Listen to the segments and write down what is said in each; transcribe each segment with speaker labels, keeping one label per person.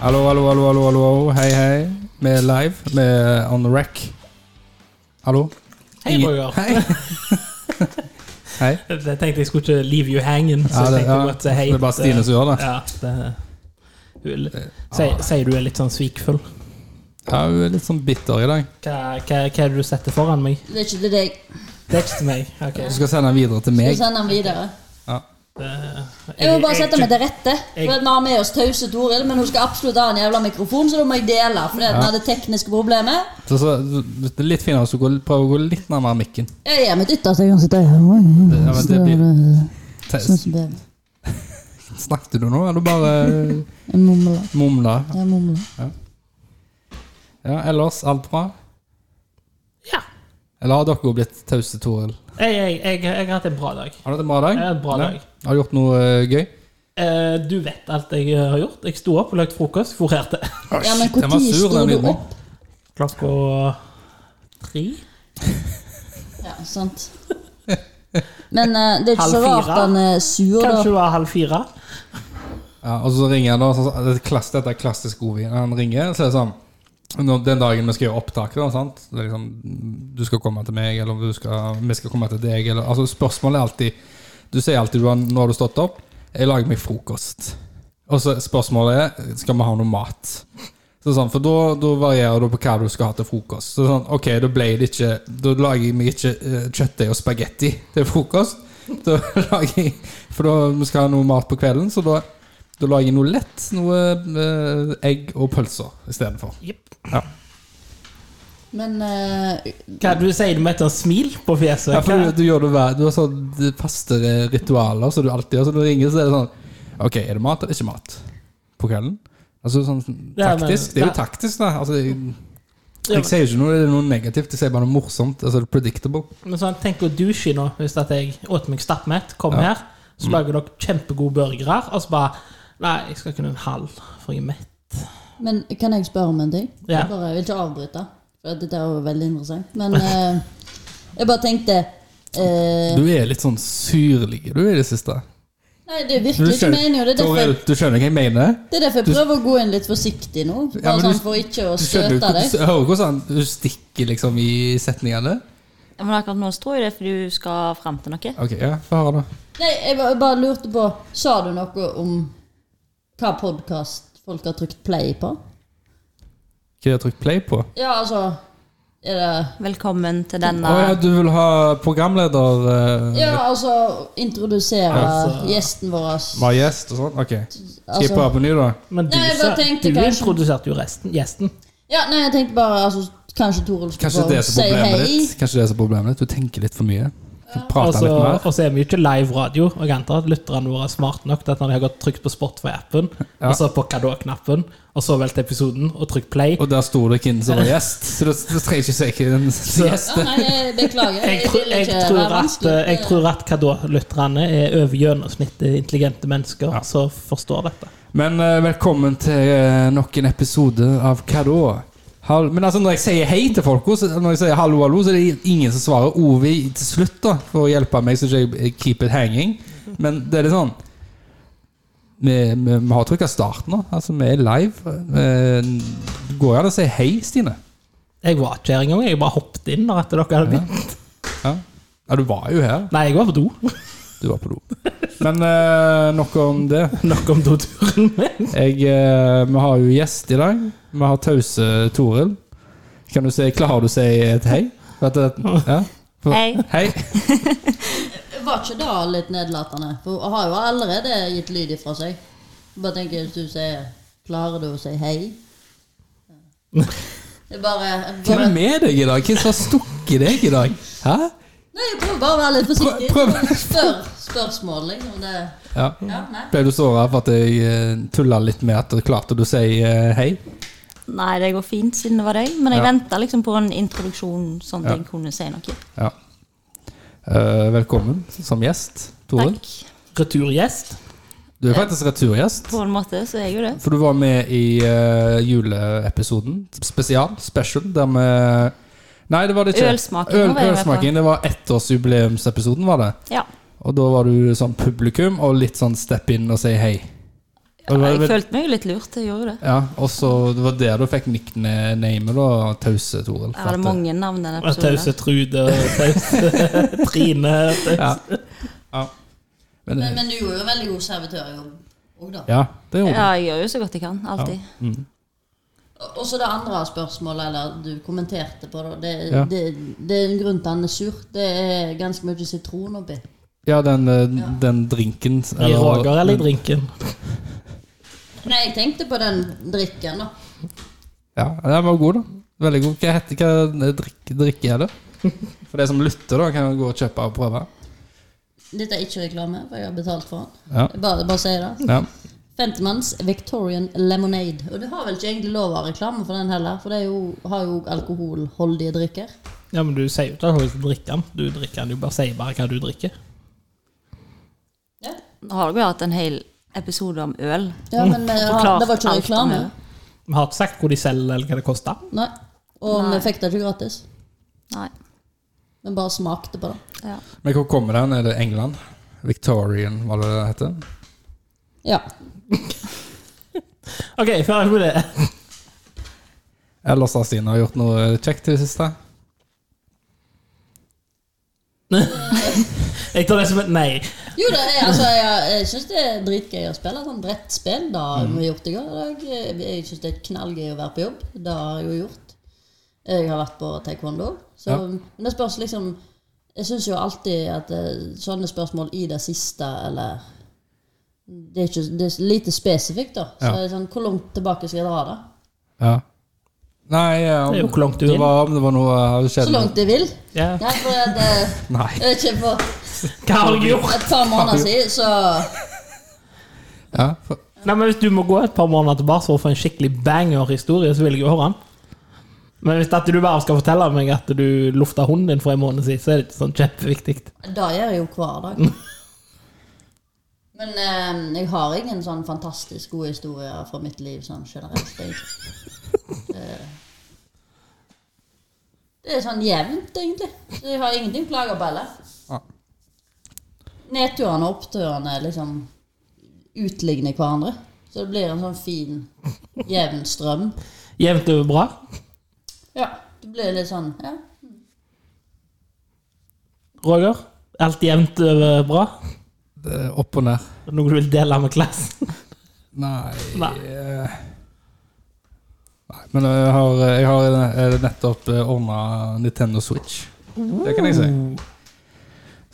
Speaker 1: Hallo, hallo, hallo, hallo, hallo. hallo. Hei, hei. Vi er live. Vi er on the rack. Hallo.
Speaker 2: Hei,
Speaker 1: Ingen-
Speaker 2: Roger.
Speaker 1: Hei. hei.
Speaker 2: Jeg tenkte jeg skulle ikke leave you hanging, så jeg
Speaker 1: det,
Speaker 2: tenkte godt hei.
Speaker 1: det er bare Stine som gjør det. Eh, ah.
Speaker 2: Ja, det hun er litt- Sier sier du er litt sånn svikfull?
Speaker 1: Ja, Hun er litt sånn bitter i dag.
Speaker 2: Hva, hva, hva er det du setter foran meg?
Speaker 3: Det er ikke til deg.
Speaker 2: Det er ikke til meg. ok.
Speaker 1: Du skal sende den videre til
Speaker 3: Så
Speaker 1: meg.
Speaker 3: sender han videre.
Speaker 1: Ja.
Speaker 3: Jeg må bare sette meg til rette.
Speaker 2: eh, jeg-
Speaker 3: For at Vi har med oss tause Toril, men hun skal absolutt ha en jævla mikrofon, så da må jeg dele. Fordi at hun hadde tekniske problemer.
Speaker 1: Så, så, det er litt finere hvis du går- prøver å gå litt nærmere mikken.
Speaker 3: Jeg gjør mitt ytterste. Jeg kan sitte her.
Speaker 1: Ja, men det blir, te,
Speaker 3: Sånn som det er.
Speaker 1: snakket du nå, eller bare eh,
Speaker 3: Jeg mumler.
Speaker 1: mumla?
Speaker 3: Jeg mumler.
Speaker 1: Ja, ellers alt bra?
Speaker 2: Ja.
Speaker 1: Eller har dere blitt tause, Toril?
Speaker 2: Jeg, jeg, jeg, jeg har hatt en bra dag.
Speaker 1: Har du hatt en bra dag?
Speaker 2: Jeg har hatt en bra
Speaker 1: Ja.
Speaker 2: dag.
Speaker 1: Har du gjort noe eh, gøy?
Speaker 2: Eh, du vet alt jeg eh, har gjort. Jeg sto opp og lagde frokost, forerte.
Speaker 1: Ah,
Speaker 3: Ja, men
Speaker 1: Den var
Speaker 3: når
Speaker 1: sur,
Speaker 3: sto
Speaker 1: den
Speaker 3: du
Speaker 1: lyden.
Speaker 3: opp?
Speaker 2: Klokka tre?
Speaker 3: Ja, sant. Men eh, det er ikke så
Speaker 2: Halv fire.
Speaker 3: rart han er sur,
Speaker 2: Kanskje
Speaker 3: da.
Speaker 2: det var halv fire?
Speaker 1: Ja, og så ringer han da så, det er klass, Dette er klassisk godvin Han ringer, så er det sånn når, Den dagen vi skal gjøre opptak da, sant? Det er liksom, Du skal komme til meg Eller du skal, vi skal komme til deg eller, altså, Spørsmålet er alltid Du sier alltid du har, Nå har du stått opp Jeg lager meg frokost Og så spørsmålet er Skal vi ha noe mat? Så sånn, for da, da varierer du på hva du skal ha til frokost Så sånn, ok, da ble det ikke Da lager jeg meg ikke eh, kjøttdeig og spagetti Til frokost Da lager jeg For da vi skal ha noe mat på kvelden Så da da lager jeg noe lett, noe eh, egg og pølser istedenfor.
Speaker 2: Jepp.
Speaker 1: Ja.
Speaker 3: Men eh,
Speaker 2: Hva du sier du med et sånt smil på fjeset?
Speaker 1: Ja, for
Speaker 2: Hva-
Speaker 1: du, du, gjør det hver, du har sånne faste ritualer som du alltid gjør. Så når du ringer, så er det sånn Ok, er det mat eller ikke mat på kvelden? Altså sånn
Speaker 2: Ja, men-
Speaker 1: taktisk. Det er jo
Speaker 2: ja.
Speaker 1: taktisk, da. Altså, jeg,
Speaker 2: Ja, men-
Speaker 1: jeg sier jo ikke noe, det er noe negativt, jeg sier bare noe morsomt. Altså det er predictable.
Speaker 2: Men sånn, tenk å douche nå, hvis at jeg åt meg stappmett, kom her,
Speaker 1: Mm.
Speaker 2: så lager dere kjempegode burgere, og så bare Nei, jeg skal kun en halv, for jeg er mett.
Speaker 3: Men kan jeg spørre om en ting?
Speaker 2: Ja.
Speaker 3: Jeg bare jeg vil ikke avbryte, for dette er jo veldig interessant. Men eh, jeg bare tenkte eh,
Speaker 1: Du er litt sånn syrlig du i det siste.
Speaker 3: Nei, det er
Speaker 1: Du
Speaker 3: virkelig ikke meningen. og Det er derfor,
Speaker 1: Toril, du skjønner hva jeg mener?
Speaker 3: det er derfor jeg prøver å gå inn litt forsiktig nå.
Speaker 1: Ja,
Speaker 3: Bare
Speaker 1: men du-
Speaker 3: sånn for ikke å
Speaker 1: Du skjønner jo
Speaker 3: støte deg.
Speaker 1: hvordan- hører hvordan du stikker liksom i setningene?
Speaker 4: Ja, Men akkurat nå står jo det fordi du skal fram til noe.
Speaker 1: Ok, ja, få høre, da.
Speaker 3: Nei, jeg bare, bare lurte på Sa du noe om hva podkast folk har trykt play på?
Speaker 1: Hva har jeg trykt play på?
Speaker 3: Ja, altså Er det
Speaker 4: Velkommen til denne
Speaker 1: Å ja, du vil ha programleder eh,
Speaker 3: Ja, altså introdusere
Speaker 2: Altså-
Speaker 3: gjesten vår.
Speaker 1: Være gjest og sånn? Ok. Skal jeg
Speaker 3: Altså-
Speaker 1: prøve på ny, da?
Speaker 2: Men du,
Speaker 3: Nei, jeg bare
Speaker 2: sa-
Speaker 3: tenkte
Speaker 2: du
Speaker 3: kanskje-
Speaker 2: introduserte jo resten, gjesten.
Speaker 3: Ja, nei, jeg tenkte bare altså, Kanskje Toril skulle
Speaker 1: Kanskje
Speaker 3: få
Speaker 1: det er så
Speaker 3: si
Speaker 1: problemet
Speaker 3: hei.
Speaker 1: ditt? Kanskje det er så problemet ditt? Du tenker litt for mye?
Speaker 2: Og
Speaker 1: Prater
Speaker 2: så
Speaker 1: litt mer?
Speaker 2: og så er vi jo ikke live radio, og jeg antar at lytterne våre er smart nok til at når de har gått trykt på Spotify-appen, og så på Kadå-knappen, og så vel til episoden, og trykt play.
Speaker 1: Og der sto det hvem som var gjest, så da da trenger jeg ikke si hvem som er gjest.
Speaker 3: Ja, nei, jeg beklager.
Speaker 2: Jeg,
Speaker 3: Jeg
Speaker 2: tro,
Speaker 3: vil
Speaker 2: jeg,
Speaker 3: ikke
Speaker 2: tror
Speaker 3: være
Speaker 2: at, eh,
Speaker 3: vanskelig.
Speaker 2: jeg tror at Kadå-lytterne er over gjennomsnittet intelligente mennesker som forstår dette.
Speaker 1: Men eh, velkommen til eh, nok en episode av Hva da? Hall Men altså når jeg sier hei til folk, så, når jeg sier hallo, hallo, så er det ingen som svarer Ovi til slutt, da, for å hjelpe meg, så ikke jeg eh, keep it hanging. Men det er litt sånn Vi, vi, vi har trykka start nå. Altså, vi er live. Eh, Det går jo an å si hei, Stine.
Speaker 2: Jeg var ikke her engang, jeg bare hoppet inn når at dere hadde begynt.
Speaker 1: Ja, ja du var jo her.
Speaker 2: Nei, jeg var på do.
Speaker 1: Du var på do. Men eh, nok om det.
Speaker 2: Nok om doturen min.
Speaker 1: Jeg, eh, vi har jo gjest i dag. Vi har tause Toril. Kan du si, klarer du å si et hei? Vet du, det- ja? For-
Speaker 4: Hei.
Speaker 1: hei.
Speaker 3: Var ikke det litt nedlatende? For hun har jo allerede gitt lyd ifra seg. Bare tenker hvis du sier Klarer du å si hei? Jeg bare, jeg
Speaker 1: Hva er
Speaker 3: bare
Speaker 1: med deg i dag? Hvem som har stukket deg i dag? Hæ?
Speaker 3: Nei, jeg prøver bare å være litt forsiktig.
Speaker 1: Prøv- prøv.
Speaker 3: Spør spørsmål, liksom. Det
Speaker 1: Ja.
Speaker 3: Ja, nei.
Speaker 1: Ble du såra for at jeg eh, tulla litt med at du klarte du å si eh, hei?
Speaker 4: Nei, det går fint siden det var deg, men jeg
Speaker 1: Ja.
Speaker 4: venta liksom på en introduksjon sånn at jeg kunne si noe.
Speaker 1: Ja. Eh, velkommen som gjest, Toril.
Speaker 4: Takk.
Speaker 2: Returgjest.
Speaker 1: Du er faktisk returgjest.
Speaker 4: På en måte så er jeg jo det.
Speaker 1: For du var med i eh, juleepisoden spesial, special, der vi Nei, det var det ikke.
Speaker 4: Ølsmaking var jeg med på.
Speaker 1: ølsmaking, det var ettårsjubileumsepisoden, var det.
Speaker 4: Ja.
Speaker 1: Og da var du sånn publikum og litt sånn step in og si hei. Og det var-
Speaker 4: jeg følte meg jo litt lurt, jeg gjorde jo det.
Speaker 1: Ja, og så Det var der du fikk nicknamet, da. Tause Toril.
Speaker 4: Jeg hadde mange navn i den
Speaker 2: Og Tause
Speaker 4: episoden.
Speaker 2: Trude, og tause Trine tause-
Speaker 1: Ja. ja. Men,
Speaker 3: Men,
Speaker 1: det-
Speaker 3: men du gjorde jo en veldig god servitørjobb òg, da.
Speaker 1: ja, det gjorde
Speaker 4: Ja,
Speaker 1: du.
Speaker 4: jeg gjør jo så godt jeg kan. Alltid.
Speaker 3: Og- Og så det andre spørsmålet, eller du kommenterte på det, det,
Speaker 1: Ja.
Speaker 3: det, det er en grunn til at den er sur. Det er ganske mye sitron oppi.
Speaker 1: Ja, den, eh, den drinken
Speaker 2: I Roger eller Mm. i drinken?
Speaker 3: Nei, jeg tenkte på den drikken, da.
Speaker 1: Ja, den var god, da. Veldig god. Hva heter hva eh, drikke, drikke er det? For de som lytter, da, kan jo gå og kjøpe og prøve.
Speaker 3: Dette er ikke reklame, for jeg har betalt for den.
Speaker 1: Ja.
Speaker 3: Bare, bare si det.
Speaker 1: Ja.
Speaker 3: Femtemanns Victorian Lemonade. Og du har vel ikke egentlig lov av reklame for den heller, for det er jo, har jo alkoholholdige drikker.
Speaker 2: Ja, men du sier jo ikke at hun ikke drikker den. Du drikker den, du bare sier bare hva du drikker.
Speaker 3: Ja,
Speaker 4: Nå har dere jo hatt en hel episode om øl.
Speaker 3: ja men vi har,
Speaker 4: Forklart
Speaker 3: det var ikke
Speaker 4: alt
Speaker 3: reklame.
Speaker 4: om det.
Speaker 2: Vi har ikke sagt hvor de selger, eller hva det koster.
Speaker 3: Nei. Og
Speaker 4: Nei.
Speaker 3: vi fikk det ikke gratis.
Speaker 4: Nei.
Speaker 3: Vi bare smakte på det.
Speaker 4: Ja.
Speaker 1: Men hvor kommer den? Er det England? Victorian, hva det det heter?
Speaker 3: Ja.
Speaker 2: Ok, ferdig med det.
Speaker 1: Ellers har Stine gjort noe kjekt i det siste?
Speaker 2: Jeg tar det som et nei.
Speaker 3: Jo, det er, altså, jeg, jeg syns det er dritgøy å spille sånn brettspill.
Speaker 1: Mhm.
Speaker 3: Det har vi gjort i går. Jeg, jeg syns det er knallgøy å være på jobb. Det har jeg jo gjort. Jeg har vært på taekwondo. Så,
Speaker 1: Ja.
Speaker 3: Men det spørs liksom Jeg syns jo alltid at eh, sånne spørsmål i det siste eller Det er, ikke, det er lite spesifikt, da. Så
Speaker 1: Ja.
Speaker 3: det er sånn, hvor langt tilbake skal jeg dra det?
Speaker 1: Ja. Nei, ja, om,
Speaker 2: Det er jo hvor langt du
Speaker 1: det
Speaker 2: vil.
Speaker 1: var, om det var noe eh, det
Speaker 3: Så
Speaker 1: skjedde.
Speaker 3: langt jeg vil?
Speaker 2: Ja.
Speaker 3: Nei, for at, eh,
Speaker 1: Nei.
Speaker 3: jeg vet ikke, for
Speaker 2: Hva har jeg gjort?
Speaker 3: et par måneder siden så
Speaker 1: Ja, for,
Speaker 2: Nei, men Hvis du må gå et par måneder tilbake for å få en skikkelig banger-historie, så vil jeg jo høre den. Men hvis at du bare skal fortelle meg at du lufta hunden din for en måned siden, så er det ikke sånn kjempeviktig.
Speaker 3: Det gjør jeg jo hver dag. Men eh, jeg har ingen sånn fantastisk gode historier fra mitt liv sånn generelt. egentlig. Eh, det er sånn jevnt, egentlig. Så jeg har ingenting å klage på heller.
Speaker 1: Ja.
Speaker 3: Nedturene og oppturene liksom utligner hverandre. Så det blir en sånn fin, jevn strøm.
Speaker 2: Jevnt over bra.
Speaker 3: Ja, det blir litt sånn ja.
Speaker 2: Roger? Alt jevnt over bra?
Speaker 1: det er opp og ned.
Speaker 2: Er det Noe du vil dele med klassen?
Speaker 1: Nei.
Speaker 2: Nei.
Speaker 1: eh, Nei, men jeg har, jeg har eh, nettopp ordna Nintendo Switch. Det kan jeg si.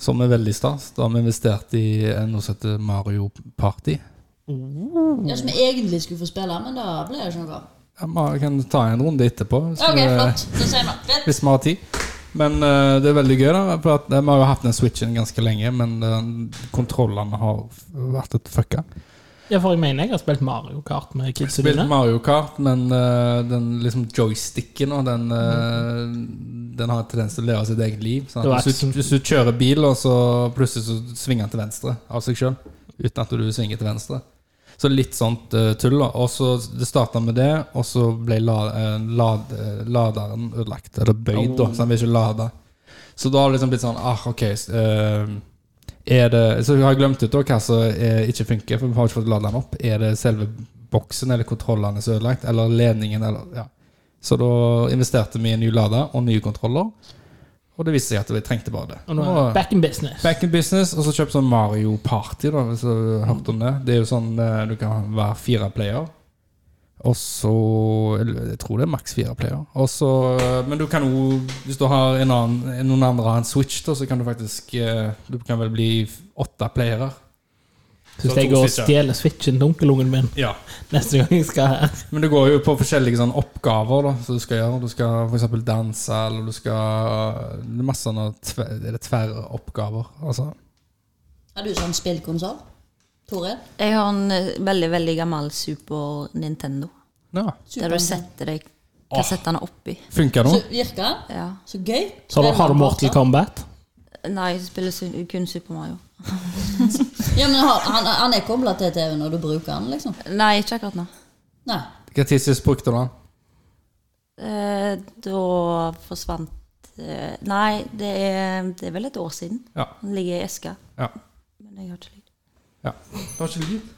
Speaker 1: Som er veldig stas. Da har vi investert i eh, noe som heter Mario Party.
Speaker 3: ja, Som jeg egentlig skulle få spille, men da ble det ikke noe av.
Speaker 1: Ja, vi kan ta en runde etterpå. hvis
Speaker 3: Ok,
Speaker 1: vi-
Speaker 3: flott. Da sier vi det.
Speaker 1: Hvis vi har tid. Men eh, det er veldig gøy. da for at, eh, Vi har jo hatt den switchen ganske lenge, men eh, kontrollene har vært et fucka.
Speaker 2: Ja, for jeg mener jeg har spilt Mario Kart med kidsa
Speaker 1: Spilt
Speaker 2: dine.
Speaker 1: Mario Kart, men eh, den liksom joysticken og den, eh, den har en tendens til å leve sitt eget liv. Sånn
Speaker 2: Mm. Det var
Speaker 1: at hvis,
Speaker 2: ikke
Speaker 1: du, hvis du kjører bil, og så plutselig så svinger den til venstre av seg sjøl. Uten at du svinger til venstre. Så litt sånt eh, tull. da Og så Det starta med det, og så ble la, eh, lad, eh, laderen ødelagt. Eller bøyd, da, så han vil ikke lade. Så da har det liksom blitt sånn ah, Ok, s- eh, er det Så har jeg glemt ut da hva som eh, ikke funker, for vi har ikke fått lada den opp. Er det selve boksen eller kontrollene som er ødelagt, eller ledningen, eller Ja. Så da investerte vi i en ny lader og nye kontroller, og det viste seg at vi trengte bare det.
Speaker 2: Og nå er
Speaker 1: Nå-
Speaker 2: det back in business.
Speaker 1: Back in business, og så kjøp sånn Mario Party, da, hvis du har hørt om det. Det er jo sånn eh, du kan være fire player. Og så Jeg tror det er maks fire player. Og så, eh, men du kan jo, hvis du har en annen, noen andre har en Switch, da, så kan du faktisk eh, Du kan vel bli åtte playere.
Speaker 2: Syns
Speaker 1: Så
Speaker 2: jeg
Speaker 1: to
Speaker 2: går og
Speaker 1: switcher.
Speaker 2: stjeler switchen til onkelungen min
Speaker 1: Ja.
Speaker 2: neste gang jeg skal her.
Speaker 1: Men det går jo på forskjellige sånne oppgaver da, som du skal gjøre. Du skal f.eks. danse, eller du skal eh, Det er masse sånne tver, er det tverroppgaver. Altså.
Speaker 3: Har du sånn spillkonsoll? Toril?
Speaker 4: Jeg har en eh, veldig, veldig gammel Super Nintendo.
Speaker 1: Ja.
Speaker 4: Der du setter deg kassettene oppi.
Speaker 1: Funker
Speaker 3: Så
Speaker 1: det nå?
Speaker 3: virker den?
Speaker 4: Ja.
Speaker 3: Så gøy.
Speaker 2: Så da har du Mortal Kombat.
Speaker 4: Nei, jeg spiller su- kun Super Mario.
Speaker 3: Ja, men har, han, han er kobla til TV når du bruker den, liksom?
Speaker 4: Nei, ikke akkurat nå.
Speaker 3: Nei.
Speaker 1: Hva tid sist brukte du den?
Speaker 4: Eh, da forsvant eh, Nei, det er, det er vel et år siden.
Speaker 1: Ja.
Speaker 4: Den ligger i eska.
Speaker 1: Ja.
Speaker 4: Men jeg har ikke lyd.
Speaker 1: Ja. Det var ikke lyd.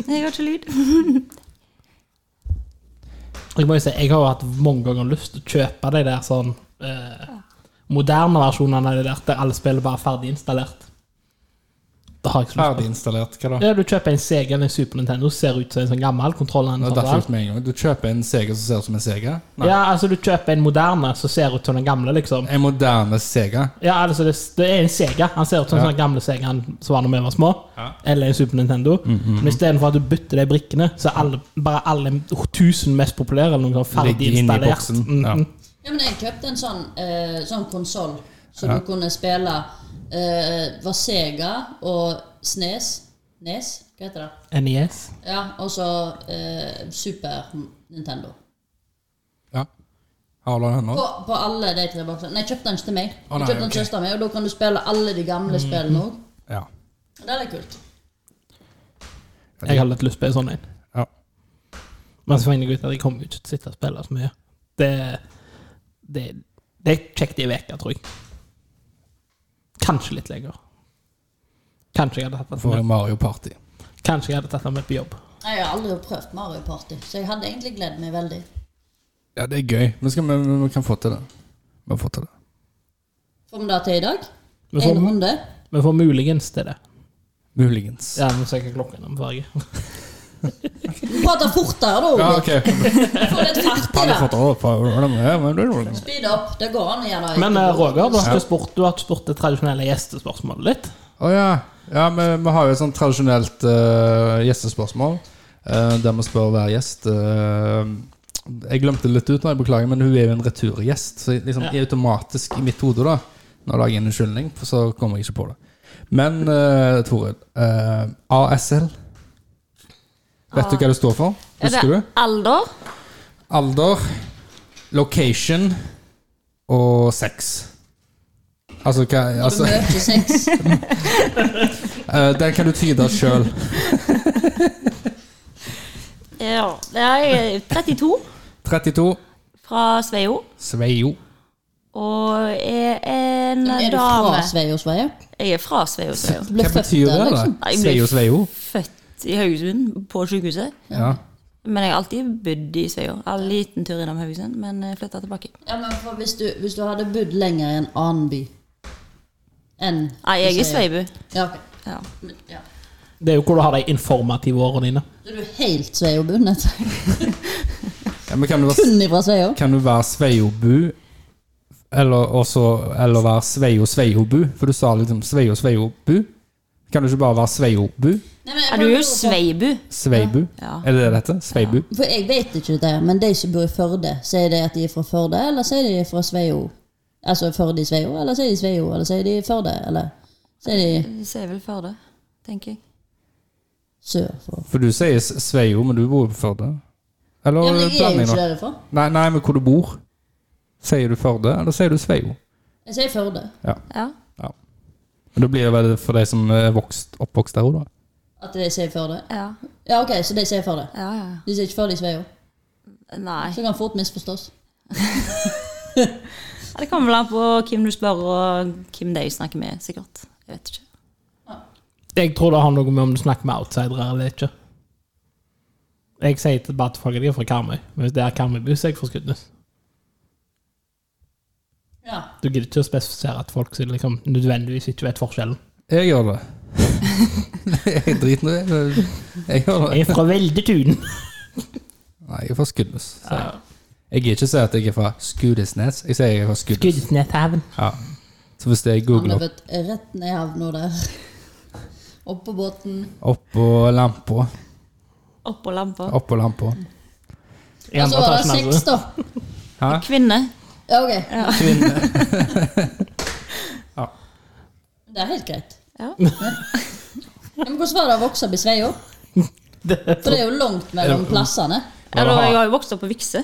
Speaker 4: Jeg har ikke lyd.
Speaker 2: Jeg må jo si, jeg har jo hatt mange ganger lyst til å kjøpe de der sånn eh, moderne versjonene av de der der alle spiller bare ferdig installert. Det har jeg ikke lyst
Speaker 1: Ferdig installert, hva da?
Speaker 2: Ja, du kjøper en Sega eller en Super Nintendo, ser ut som en sånn gammel kontroll.
Speaker 1: Det datt ut med en gang. Du kjøper en Sega som ser ut som en Sega? Nei.
Speaker 2: Ja, altså du kjøper en moderne som ser ut som den gamle, liksom.
Speaker 1: En moderne Sega?
Speaker 2: Ja, altså det, det er en Sega. Han ser ut som
Speaker 1: Ja.
Speaker 2: den gamle Segaen som var da vi var små.
Speaker 1: Ja. Mm,
Speaker 2: Eller en Super Nintendo. Men istedenfor at du bytter de brikkene, så er alle, bare alle tusen mest populære eller noe sånt ferdig
Speaker 1: Ligger inni
Speaker 2: installert.
Speaker 1: boksen.
Speaker 2: Mm,
Speaker 1: Ja.
Speaker 2: mm.
Speaker 3: Ja, men jeg kjøpte en sånn, eh, sånn konsoll som du kunne spille eh, Var Sega og Snes Nes, hva heter det?
Speaker 2: NES.
Speaker 3: Ja, og så eh, Super Nintendo.
Speaker 1: Ja. Har du den ennå?
Speaker 3: På, på alle de tre boksene. Nei, jeg kjøpte den ikke til
Speaker 1: Å,
Speaker 3: meg.
Speaker 1: nei,
Speaker 3: jeg kjøpte den
Speaker 1: ok.
Speaker 3: til søsteren min, og da kan du spille alle de gamle
Speaker 2: Mm.
Speaker 3: spillene òg.
Speaker 1: Ja.
Speaker 3: Det er litt kult.
Speaker 2: Jeg har litt lyst på en sånn en.
Speaker 1: ja.
Speaker 2: Men så fant jeg ut at jeg kommer jo ikke til å sitte og spille så mye. Det, det, det er kjekt i veka, tror jeg. Kanskje litt lenger. Kanskje jeg hadde tatt det
Speaker 1: For
Speaker 2: med,
Speaker 1: en Mario Party.
Speaker 2: kanskje jeg hadde tatt det med på jobb.
Speaker 3: Nei, Jeg har aldri prøvd Mario Party, så jeg hadde egentlig gledet meg veldig.
Speaker 1: Ja, det er gøy. Men skal vi, vi kan få til det. Vi får til det.
Speaker 3: Får vi det til i dag?
Speaker 2: Vi
Speaker 3: En
Speaker 2: får,
Speaker 3: runde?
Speaker 2: vi får muligens til det.
Speaker 1: Muligens.
Speaker 2: Ja, men så er ikke klokken om farge.
Speaker 3: Prate fortere, da!
Speaker 1: Ja, ok.
Speaker 3: Få litt fart i
Speaker 1: Har du
Speaker 3: det.
Speaker 1: fått opp? Ja, men det er noe.
Speaker 3: Speed up. Det går an å gjøre.
Speaker 2: Men eh, Roger, du har
Speaker 1: Ja.
Speaker 2: ikke spurt, du har ikke spurt det tradisjonelle gjestespørsmålet ditt.
Speaker 1: Å ja. ja men vi har jo et sånt tradisjonelt eh, gjestespørsmål. eh, der vi spør hver gjest. eh, jeg glemte det litt ut, da, jeg beklager, men hun er jo en returgjest. Så jeg- liksom,
Speaker 2: Ja.
Speaker 1: jeg automatisk i mitt hode, da, når jeg lager en unnskyldning, for så kommer jeg ikke på det. Men uh, Toril, eh, ASL Vet du hva det står for?
Speaker 4: Er
Speaker 1: Husker
Speaker 4: det
Speaker 1: du?
Speaker 4: alder?
Speaker 1: Alder, location og sex. Altså hva
Speaker 3: Når du
Speaker 1: altså,
Speaker 3: møter sex.
Speaker 1: eh, Den kan du tyde sjøl.
Speaker 4: Ja. Jeg er 32,
Speaker 1: 32.
Speaker 4: fra Sveio,
Speaker 1: Sveio.
Speaker 4: og er en
Speaker 3: Er du
Speaker 4: dame
Speaker 3: fra Sveio Sveio?
Speaker 4: Jeg er fra Sveio, Sveio.
Speaker 3: Du ble
Speaker 1: Hva
Speaker 3: født
Speaker 1: betyr
Speaker 3: der,
Speaker 1: det, da?
Speaker 3: liksom?
Speaker 4: Nei, jeg ble
Speaker 1: Sveio, sveio?
Speaker 4: Født i Haugesund, på sykehuset.
Speaker 1: Ja.
Speaker 4: Men jeg har alltid bodd i Sveio. En liten tur innom Haugesund, men flytta tilbake.
Speaker 3: Ja, men for hvis, du, hvis du hadde bodd lenger i en annen by enn
Speaker 4: Nei, jeg er
Speaker 3: Sveio.
Speaker 4: Sveibu.
Speaker 3: Ja, ok.
Speaker 4: Ja.
Speaker 3: Men, ja.
Speaker 2: Det er jo hvor du har de informative årene dine.
Speaker 3: Så du er helt Sveio-bundet?
Speaker 1: ja men kan du være,
Speaker 3: Kun ifra Sveio?
Speaker 1: kan du være sveiobu, eller, også, eller være sveio, sveiobu? For du sa liksom sveio, sveiobu. Kan du ikke bare være sveiobu?
Speaker 3: Nei, men jeg
Speaker 4: Er
Speaker 3: bare
Speaker 4: du jo
Speaker 3: lurer på-
Speaker 4: Sveibu?
Speaker 1: Sveibu?
Speaker 4: Ja.
Speaker 1: Er det det det heter? Sveibu?
Speaker 3: For jeg vet ikke dette, her, men de som bor i Førde, sier de at de er fra Førde, eller sier de fra Sveio? Altså Førde i Sveio, eller sier de Sveio, eller sier de Førde, eller sier de
Speaker 4: Du sier vel Førde, tenker jeg.
Speaker 3: sør for
Speaker 1: For du sier s- sveio, men du bor jo på Førde? Eller
Speaker 3: Ja, men jeg er jo
Speaker 1: blanding
Speaker 3: ikke
Speaker 1: nå?
Speaker 3: derifra.
Speaker 1: Nei, nei, men hvor du bor? Sier du Førde, eller sier du Sveio?
Speaker 3: Jeg sier Førde.
Speaker 4: Ja.
Speaker 1: Men Da blir det vel for de som er vokst, oppvokst der òg, da.
Speaker 3: At de sier Førde.
Speaker 4: Ja.
Speaker 3: Ja, ok, så de sier Førde.
Speaker 4: ja, ja. ja.
Speaker 3: De sier ikke Førde i Sveio.
Speaker 4: Nei.
Speaker 3: Så kan fort misforstås.
Speaker 4: Ja, Det kommer vel an på hvem du spør, og hvem de snakker med, sikkert. Jeg vet ikke.
Speaker 2: Jeg tror det har noe med om du snakker med outsidere eller ikke. Jeg sier til bare til folk at jeg er fra Karmøy, men hvis det er Karmøybu, så er jeg fra Skudenes.
Speaker 3: Ja.
Speaker 2: Du gidder ikke å spesifisere at folk som liksom nødvendigvis ikke vet forskjellen.
Speaker 1: Jeg gjør det. jeg driter nå i det. Jeg gjør det.
Speaker 2: Jeg er fra Veldetun.
Speaker 1: Nei, jeg er fra Skudenes. sier jeg. Jeg gidder ikke si at jeg er fra Skudesnes. Jeg sier jeg er fra Skudenes.
Speaker 2: Skudeneshaven.
Speaker 1: Ja. Så hvis jeg
Speaker 3: Han
Speaker 1: googler
Speaker 3: har
Speaker 1: opp,
Speaker 3: vært rett ned i havna der. Oppå båten.
Speaker 1: oppå lampa
Speaker 4: Oppå lampa.
Speaker 1: Oppå lampa
Speaker 2: I
Speaker 3: Og så
Speaker 2: andre
Speaker 3: var det
Speaker 2: etasjen,
Speaker 3: seks,
Speaker 2: altså.
Speaker 3: da.
Speaker 1: Hæ?
Speaker 4: Kvinne.
Speaker 3: Ja, ok.
Speaker 1: Kvinne.
Speaker 3: Det er helt greit.
Speaker 4: Ja.
Speaker 3: Ja, Men hvordan var det å vokse opp i Sveio? For det er jo langt mellom plassene.
Speaker 1: Ja,
Speaker 4: Eller,
Speaker 1: det har-
Speaker 4: jeg har jo vokst opp på Vikse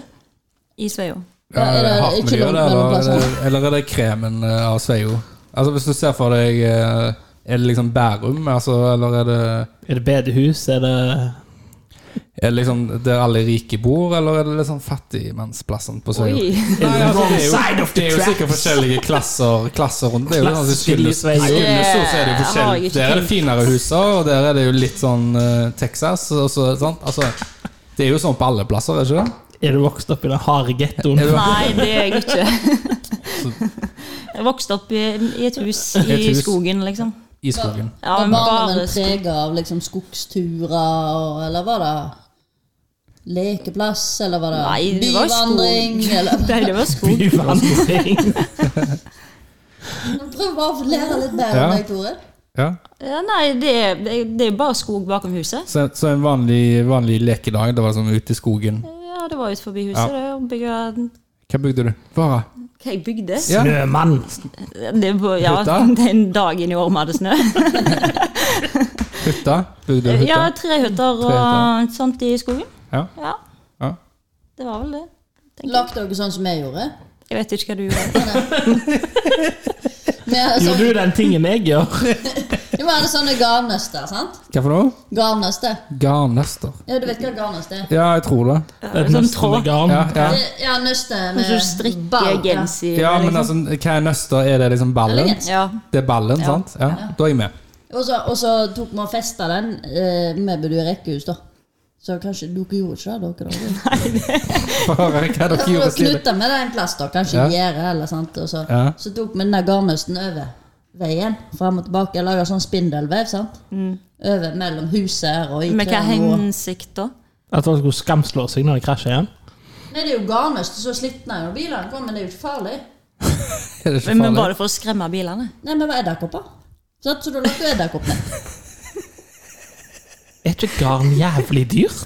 Speaker 4: i Sveio.
Speaker 1: Ja,
Speaker 3: Ja, er det
Speaker 1: hardt
Speaker 3: ikke
Speaker 1: miljø,
Speaker 3: langt
Speaker 1: det,
Speaker 3: mellom
Speaker 1: eller,
Speaker 3: plassene?
Speaker 1: eller er det kremen eh, av Sveio? Altså Hvis du ser for deg eh, Er det liksom Bærum, altså, eller er det
Speaker 2: Er det bedehus? Er det
Speaker 1: Er det liksom der alle rike bor, eller er det liksom fattigmannsplassen på Sveio?
Speaker 4: Oi.
Speaker 1: Nei, altså, det, er
Speaker 2: Side
Speaker 1: jo,
Speaker 2: of the
Speaker 1: det er jo
Speaker 2: tracks.
Speaker 1: sikkert forskjellige klasser, klasser rundt. Det er jo sånn at i
Speaker 2: Klasseskill i
Speaker 1: Skuldnes-
Speaker 2: Sveio.
Speaker 1: i Skuldnes så- så er det jo
Speaker 4: Det har jeg
Speaker 1: forskjellig.
Speaker 4: ikke
Speaker 1: Der er det finere huser, og der er det jo litt sånn eh, Texas. Og så, sant? Altså, det er jo sånn på alle plasser, er det ikke det?
Speaker 2: Er du vokst opp i den harde gettoen?
Speaker 1: Er du-
Speaker 4: Nei, det er jeg ikke. Jeg vokste opp i, i et hus
Speaker 1: Et
Speaker 4: i
Speaker 1: hus.
Speaker 4: skogen, liksom.
Speaker 1: I skogen.
Speaker 4: Ja,
Speaker 3: var
Speaker 4: men
Speaker 3: barndommen
Speaker 4: bare skog.
Speaker 3: prega av liksom skogsturer, og, eller var det lekeplass, eller var det
Speaker 4: Nei, det var skog.
Speaker 3: byvandring? Eller,
Speaker 4: Nei, det var skog.
Speaker 2: Byvandring.
Speaker 3: prøv bare å lære litt mer
Speaker 1: Ja.
Speaker 3: om deg, Tore.
Speaker 1: Ja.
Speaker 4: Ja, nei, det er, det er bare skog bakom huset.
Speaker 1: Så, så en vanlig, vanlig lekedag, det var liksom ute i skogen.
Speaker 4: Ja, det var ut forbi huset. Det, å bygge
Speaker 1: Hva bygde du? Vara?
Speaker 4: Hva jeg bygde?
Speaker 1: Ja.
Speaker 2: Snømann.
Speaker 4: Det var, ja,
Speaker 1: Hytta?
Speaker 4: den dagen i år vi hadde snø.
Speaker 1: Hytta? Bygde du
Speaker 4: Ja,
Speaker 1: hytta?
Speaker 4: tre hytter
Speaker 1: Tre hytter.
Speaker 4: og sånt i skogen.
Speaker 1: Ja.
Speaker 4: Ja,
Speaker 1: ja.
Speaker 4: det var vel det. tenker Jeg
Speaker 3: Lagde dere sånn som vi gjorde?
Speaker 4: Jeg vet ikke hva du gjorde.
Speaker 3: Vi hadde
Speaker 2: Gjorde
Speaker 3: sånn-
Speaker 2: du den tingen jeg gjør?
Speaker 3: vi hadde sånne garnnøster, sant?
Speaker 1: Hva for noe?
Speaker 3: Garnnøster.
Speaker 1: Garnnøster.
Speaker 3: Ja, du vet hva garnnøst er?
Speaker 1: Ja, jeg tror det.
Speaker 2: Et
Speaker 4: Sånn
Speaker 2: nøstende
Speaker 4: tråd.
Speaker 2: garn.
Speaker 1: Ja, ja.
Speaker 3: Det- Ja, nøste med
Speaker 4: Så du strikker
Speaker 3: ball, ja.
Speaker 4: genser.
Speaker 1: ja men
Speaker 4: liksom.
Speaker 1: altså, hva er nøster? Er det liksom ballen?
Speaker 3: Eller-
Speaker 4: Ja.
Speaker 1: Det er ballen, sant? Ja, Da er jeg med.
Speaker 3: Og så, og så tok vi og festa den. Eh, vi bodde jo i rekkehus, da. Så kanskje dere gjorde ikke det, dere? da?
Speaker 1: Få høre hva dere
Speaker 3: Ja,
Speaker 1: gjorde
Speaker 3: for
Speaker 1: siden.
Speaker 3: Knytta med det en plass, da. Kanskje
Speaker 1: Ja.
Speaker 3: i gjerdet, eller sant. Og så,
Speaker 1: Ja.
Speaker 3: så tok vi den der garnnøsten over veien. Fram og tilbake. Laga sånn spindelvev, sant. Over mellom huset her og i
Speaker 4: Med hva
Speaker 3: trærne. og-
Speaker 4: hensikt da?
Speaker 2: At folk skulle skamslå seg når de krasjer igjen.
Speaker 3: Nei, det er jo garnnøst, så slitna jo bilene kommer, men det er jo ikke farlig.
Speaker 1: Er det ikke
Speaker 4: Men var
Speaker 1: farlig?
Speaker 4: det for å skremme bilene?
Speaker 3: Nei, men det var edderkopper. Sant? Så da lagde du edderkopper.
Speaker 2: Er ikke garn jævlig dyrt?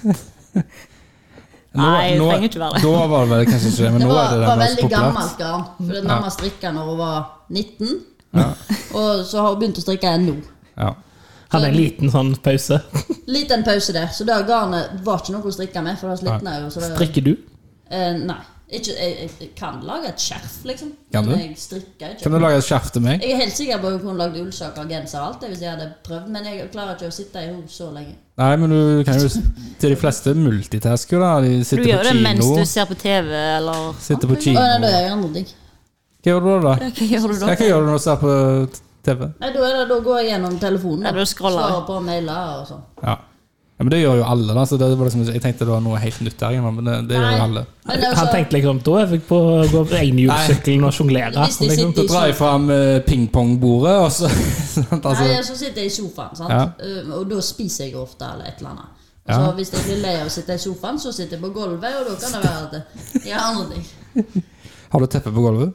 Speaker 4: Nei, det trenger ikke være det.
Speaker 1: Da var det vel kanskje ikke det, men
Speaker 3: Det
Speaker 1: nå
Speaker 3: var,
Speaker 1: er det
Speaker 3: var
Speaker 1: den mest
Speaker 3: veldig
Speaker 1: populære.
Speaker 3: gammelt garn. For det mamma strikka når hun var 19, og så har hun begynt å strikke igjen nå.
Speaker 1: Ja.
Speaker 2: Hadde en liten sånn pause.
Speaker 3: Liten pause der, så det garnet var ikke noe å strikke med. For det slitna jo. Så det,
Speaker 2: Strikker du?
Speaker 3: eh, nei. Ikke, jeg, jeg, jeg kan lage et skjerf, liksom.
Speaker 1: Kan du?
Speaker 3: Men jeg strikker
Speaker 1: Kan du
Speaker 3: ikke.
Speaker 1: lage et skjerf til meg?
Speaker 3: Jeg er helt sikker på at jeg kunne lagd ullsokker og genser og alt det hvis jeg hadde prøvd, men jeg klarer ikke å sitte i ro så lenge.
Speaker 1: Nei, men du kan jo Til de fleste multitasker, da. De
Speaker 4: Du
Speaker 1: sitter
Speaker 4: gjør
Speaker 1: på
Speaker 4: det mens
Speaker 1: kino.
Speaker 4: du ser på TV, eller
Speaker 1: Sitter på
Speaker 3: Å,
Speaker 1: kino.
Speaker 3: nei, da gjør jeg andre ting.
Speaker 1: Hva gjør du da? da?
Speaker 4: Hva gjør du
Speaker 1: Ja,
Speaker 4: da?
Speaker 1: Hva gjør du når du ser på TV?
Speaker 3: Nei, da, er det, da går jeg gjennom telefonen.
Speaker 4: Ja, da scroller jeg.
Speaker 3: Svarer på mailer og sånn.
Speaker 1: Ja. ja, Men det gjør jo alle, da. Så det var liksom, ikke- jeg tenkte det var noe helt nytt der, men det, det gjør jo alle.
Speaker 3: Men
Speaker 2: Han
Speaker 3: altså,
Speaker 2: tenkte liksom da er jeg på å gå på regnhjulssykkelen og sjonglere.
Speaker 3: Hvis de
Speaker 2: Liksom.
Speaker 1: Så drar jeg fram eh, pingpongbordet, og så sant, altså,
Speaker 3: Nei, så sitter jeg i sofaen, sant? Um, og da spiser jeg ofte eller et eller annet. Og så
Speaker 1: Ja.
Speaker 3: Hvis jeg blir lei av å sitte i sofaen, så sitter jeg på gulvet, og da kan det være at jeg har andre ting.
Speaker 1: Har du teppe på gulvet?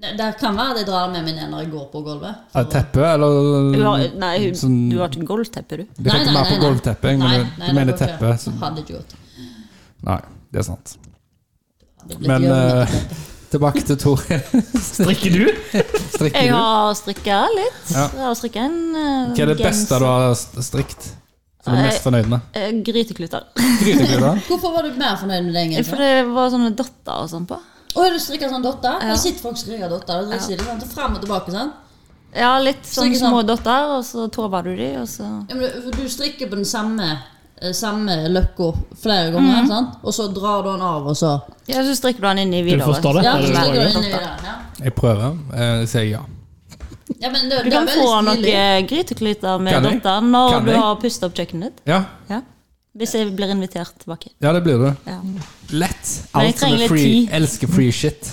Speaker 3: Det, det kan være at jeg drar det med meg ned når jeg går på gulvet.
Speaker 1: Ja, teppe, eller
Speaker 4: Du har, nei,
Speaker 1: Sånn-
Speaker 4: du har ikke gulvteppe, du.
Speaker 1: Du kan ikke være på gulvteppe, jeg mener, du mener teppe. Så,
Speaker 3: Hadde ikke gått.
Speaker 1: nei, det er sant.
Speaker 3: Hadde blitt
Speaker 1: Men
Speaker 3: gjørmete.
Speaker 1: eh, tilbake til Toril.
Speaker 2: Strikker du?
Speaker 1: Strikker
Speaker 4: Jeg
Speaker 1: du?
Speaker 4: har strikka litt.
Speaker 1: Ja.
Speaker 4: Jeg har strikka en eh,
Speaker 1: Hva er det beste
Speaker 4: genser.
Speaker 1: du har st- strikt? Som du er mest fornøyd med?
Speaker 4: Eh, Grytekluter.
Speaker 1: Grytekluter?
Speaker 3: Hvorfor var du mer fornøyd med det?
Speaker 4: For
Speaker 3: egentlig?
Speaker 4: det var sånne dotter og sånn på.
Speaker 3: Å, du strikker sånn dotter? Jeg sitter folk og strikker dotter. Det er ikke det, sant? Frem og tilbake, sant?
Speaker 4: Ja, litt sånne
Speaker 3: Strikker
Speaker 4: små
Speaker 3: sånn.
Speaker 4: dotter, og så tover du de, og så
Speaker 3: Ja, men du- du strikker på den samme, eh, samme løkka flere ganger,
Speaker 4: Mhm.
Speaker 3: sant? og så drar du den av, og så
Speaker 4: Ja, så strikker du den inn i videre.
Speaker 2: forstår det?
Speaker 3: Ja,
Speaker 2: det
Speaker 3: så
Speaker 2: var
Speaker 3: strikker du
Speaker 2: jo
Speaker 3: den i den. Ja.
Speaker 1: Jeg prøver. eh, Jeg sier ja.
Speaker 3: Ja, men det,
Speaker 4: Du
Speaker 3: det
Speaker 4: kan
Speaker 3: er
Speaker 4: få
Speaker 3: veldig stilig.
Speaker 4: noen grytekluter med
Speaker 1: Kan jeg?
Speaker 4: dotter når
Speaker 1: Kan
Speaker 4: du
Speaker 1: jeg?
Speaker 4: har pustet opp kjøkkenet ditt.
Speaker 1: Ja,
Speaker 4: Ja. Hvis jeg blir invitert tilbake.
Speaker 1: ja det blir du.
Speaker 4: Ja.
Speaker 1: Lett.
Speaker 4: Men jeg
Speaker 1: Alt som
Speaker 4: trenger
Speaker 1: er
Speaker 4: litt
Speaker 1: free.
Speaker 4: tid.
Speaker 1: Elsker free shit.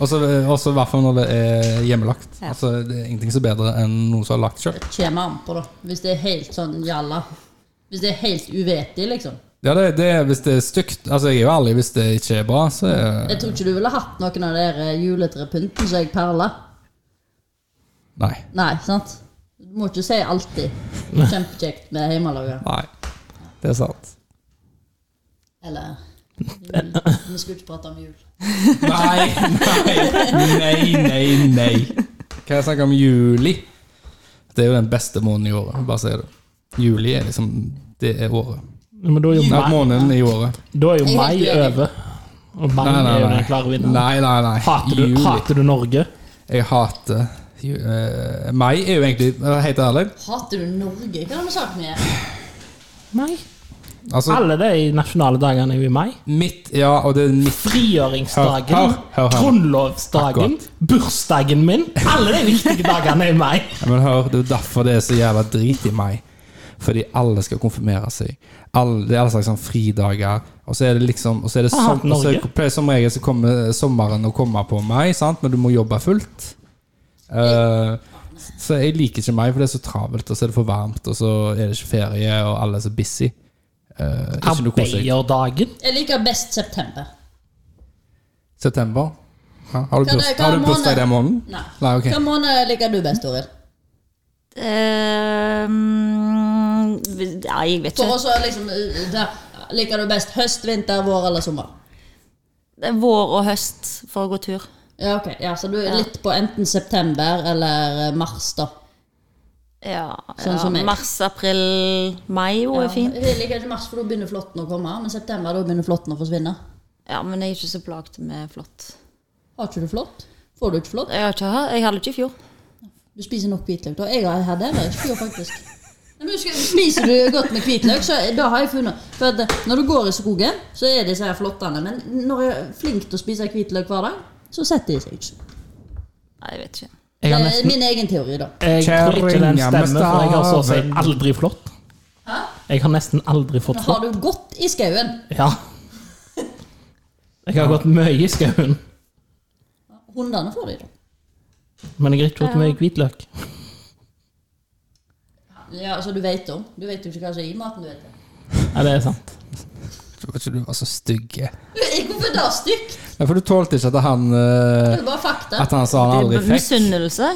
Speaker 1: Og så i hvert fall når det er hjemmelagt.
Speaker 4: Ja.
Speaker 1: Altså, det er ingenting som er bedre enn noen som har lagt sjøl.
Speaker 3: Kommer an på, da. Hvis det er helt sånn jalla. Hvis det er helt uvettig, liksom.
Speaker 1: Ja, det, det, er- hvis det er stygt Altså, jeg er jo ærlig. Hvis det ikke er bra, så er
Speaker 3: Jeg tror ikke du ville hatt noen av de der juletrepynten som jeg perler.
Speaker 1: Nei.
Speaker 3: Nei, sant? Du må ikke si alltid. Kjempekjekt med hjemmelaga.
Speaker 1: Nei. Det er sant.
Speaker 3: Eller Vi skulle ikke prate om jul.
Speaker 1: Nei, nei, nei, nei, nei. Kan jeg snakke om juli? Det er jo den beste måneden i året. Bare si det. Juli er liksom Det er året.
Speaker 2: Men da er jo
Speaker 1: Nei,
Speaker 2: mai,
Speaker 1: måneden i året.
Speaker 2: da er jo
Speaker 3: Jeg er
Speaker 2: mai
Speaker 3: helt uenig.
Speaker 2: over. Og mai
Speaker 1: Nei, nei,
Speaker 2: er jo
Speaker 1: nei.
Speaker 2: den klare vinneren.
Speaker 1: Nei, nei, nei.
Speaker 2: Hater du,
Speaker 1: Juli.
Speaker 2: hater du Norge?
Speaker 1: Jeg hater ju- eh, Mai er jo egentlig eh, Helt ærlig.
Speaker 3: Hater du Norge? Hva har vi sagt med
Speaker 2: Nei.
Speaker 1: Altså,
Speaker 2: Alle de nasjonale dagene er jo i mai.
Speaker 1: mitt Ja, og det er mitt
Speaker 2: Frigjøringsdagen,
Speaker 1: Hør, hør, hør, hør.
Speaker 2: grunnlovsdagen, bursdagen min. Alle de viktige dagene er i mai.
Speaker 1: Ja, Men hør, det er jo derfor det er så jævla drit i meg. Fordi alle skal konfirmere seg. Alle, det er alle slags sånn fridager. Og så er det liksom Og så er det
Speaker 2: Har
Speaker 1: sånn,
Speaker 2: hatt
Speaker 1: og så
Speaker 2: Norge.
Speaker 1: pleier som regel så kommer sommeren å komme på meg, sant? men du må jobbe fullt. Eh, så jeg liker ikke meg, for det er så travelt, og så er det for varmt, og så er det ikke ferie, og alle er så busy. Eh, ikke noe koselig.
Speaker 2: Arbeiderdagen.
Speaker 3: Jeg liker best september.
Speaker 1: September? Ja, har du
Speaker 3: Hva er det-
Speaker 1: burs-
Speaker 3: hva
Speaker 1: har du
Speaker 3: måned?
Speaker 1: bursdag den måneden?
Speaker 3: Nei.
Speaker 1: Nei, ok.
Speaker 3: Hvilken måned liker du best, Toril?
Speaker 4: Eh, mm, Nei, jeg vet
Speaker 3: For
Speaker 4: ikke.
Speaker 3: oss er liksom, uh, da, Liker du best høst, vinter, vår eller sommer?
Speaker 4: Det er Vår og høst for å gå tur.
Speaker 3: Ja, ok. Ja, så du er litt på enten september eller eh, mars, da.
Speaker 4: Ja,
Speaker 3: Sånn som
Speaker 4: ja.
Speaker 3: meg.
Speaker 4: Mars, april, mai jo er fint.
Speaker 3: Jeg liker ikke mars, for da begynner flåtten å komme. Men september, da begynner flåtten å forsvinne.
Speaker 4: Ja, men jeg er ikke så plaget med flått.
Speaker 3: Har ikke du flått? Får du ikke flått?
Speaker 4: Jeg, har ikke, jeg hadde ikke i fjor.
Speaker 3: Du spiser nok hvitløk. da. Jeg har hadde heller ikke fjor, faktisk. Nei, men husker, Spiser du godt med hvitløk, så da har jeg funnet For at eh, Når du går i skogen, så er disse her flåttene. Men når jeg er flink til å spise hvitløk hver dag, så setter de seg ikke.
Speaker 4: Nei, jeg vet ikke.
Speaker 2: Jeg,
Speaker 3: Det
Speaker 2: har
Speaker 3: er
Speaker 2: nesten,
Speaker 3: min egen teori, da.
Speaker 2: jeg tror ikke den
Speaker 1: Kjerringa med
Speaker 2: stemmer, for jeg har så å si
Speaker 1: staven.
Speaker 2: aldri flått.
Speaker 3: Hæ?
Speaker 2: Jeg har nesten aldri fått
Speaker 3: Men
Speaker 2: flått.
Speaker 3: Har du gått i skauen?
Speaker 2: Ja. Jeg har gått mye i skauen,
Speaker 3: Hundene får de, da.
Speaker 2: men jeg har ikke fått mye hvitløk.
Speaker 3: Ja, altså Du vet om. Du vet jo ikke hva som er i maten. du vet det.
Speaker 2: Ja, det er sant.
Speaker 1: Jeg tror ikke du var så stygg.
Speaker 3: Hvorfor da stygt?
Speaker 1: Nei, For du tålte ikke at han
Speaker 3: Det
Speaker 1: eh,
Speaker 3: er jo bare fakta.
Speaker 1: At han sa han
Speaker 4: Det
Speaker 1: aldri
Speaker 4: er
Speaker 1: fikk.
Speaker 4: misunnelse.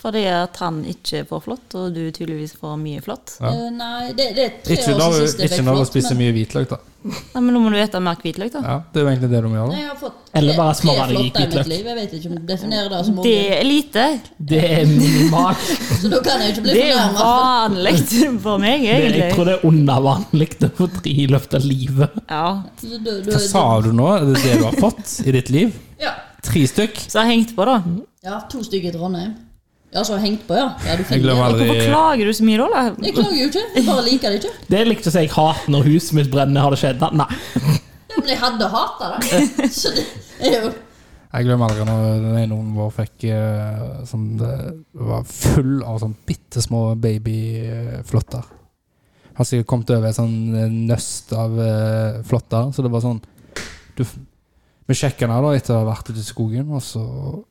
Speaker 4: Fordi at han ikke får flått, og du tydeligvis får mye flått.
Speaker 1: Ja.
Speaker 3: Eh, nei, det, det er tre
Speaker 1: Ikke
Speaker 3: år
Speaker 1: når,
Speaker 3: siden
Speaker 1: du-
Speaker 3: sist jeg
Speaker 1: ikke
Speaker 3: fikk
Speaker 1: når du
Speaker 3: flått,
Speaker 1: spiser
Speaker 3: men-
Speaker 1: mye hvitløk, da.
Speaker 4: Nei, men nå må du ete mer hvitløk, da.
Speaker 1: Ja, det er jo egentlig det du må gjøre.
Speaker 3: Nei,
Speaker 1: da.
Speaker 3: jeg har fått
Speaker 2: Eller bare
Speaker 3: tre- tre
Speaker 2: småbarn i
Speaker 3: flotter i mitt
Speaker 2: hvitløk.
Speaker 3: liv. Jeg vet ikke om jeg definerer det som
Speaker 4: Det
Speaker 3: unge.
Speaker 4: er lite.
Speaker 2: Det er minimalt.
Speaker 3: Så da kan jeg jo ikke bli
Speaker 4: Det er
Speaker 3: fornærma.
Speaker 4: vanlig for meg,
Speaker 2: Det- Jeg tror
Speaker 4: egentlig.
Speaker 2: det er under vanlig å få tre i løpet av livet.
Speaker 4: Ja.
Speaker 1: Hva sa du nå? Er det det du har fått i ditt liv?
Speaker 3: Ja.
Speaker 1: Tre stykk?
Speaker 4: Så jeg har hengt på, da.
Speaker 3: ja, to stykker i Trondheim. Ja, så hengt på, ja. ja du
Speaker 1: Jeg
Speaker 3: finner
Speaker 1: glemmer aldri
Speaker 3: det.
Speaker 4: Hvorfor klager du så mye da?
Speaker 3: Jeg
Speaker 4: da?
Speaker 3: klager jo ikke. Jeg bare liker det ikke.
Speaker 2: Det er likt å si jeg hater når huset mitt brenner. Har det skjedd? da? Nei.
Speaker 3: Ja, men jeg hadde hata det. Så det er jo
Speaker 1: Jeg glemmer aldri når den ene ungen vår fikk eh, sånn Det var full av sånn bitte små babyflotter. Har sikkert kommet over et sånn eh, nøst av eh, flotter, så det var sånn du, f- Vi sjekka den her da etter å ha vært ute i skogen, og så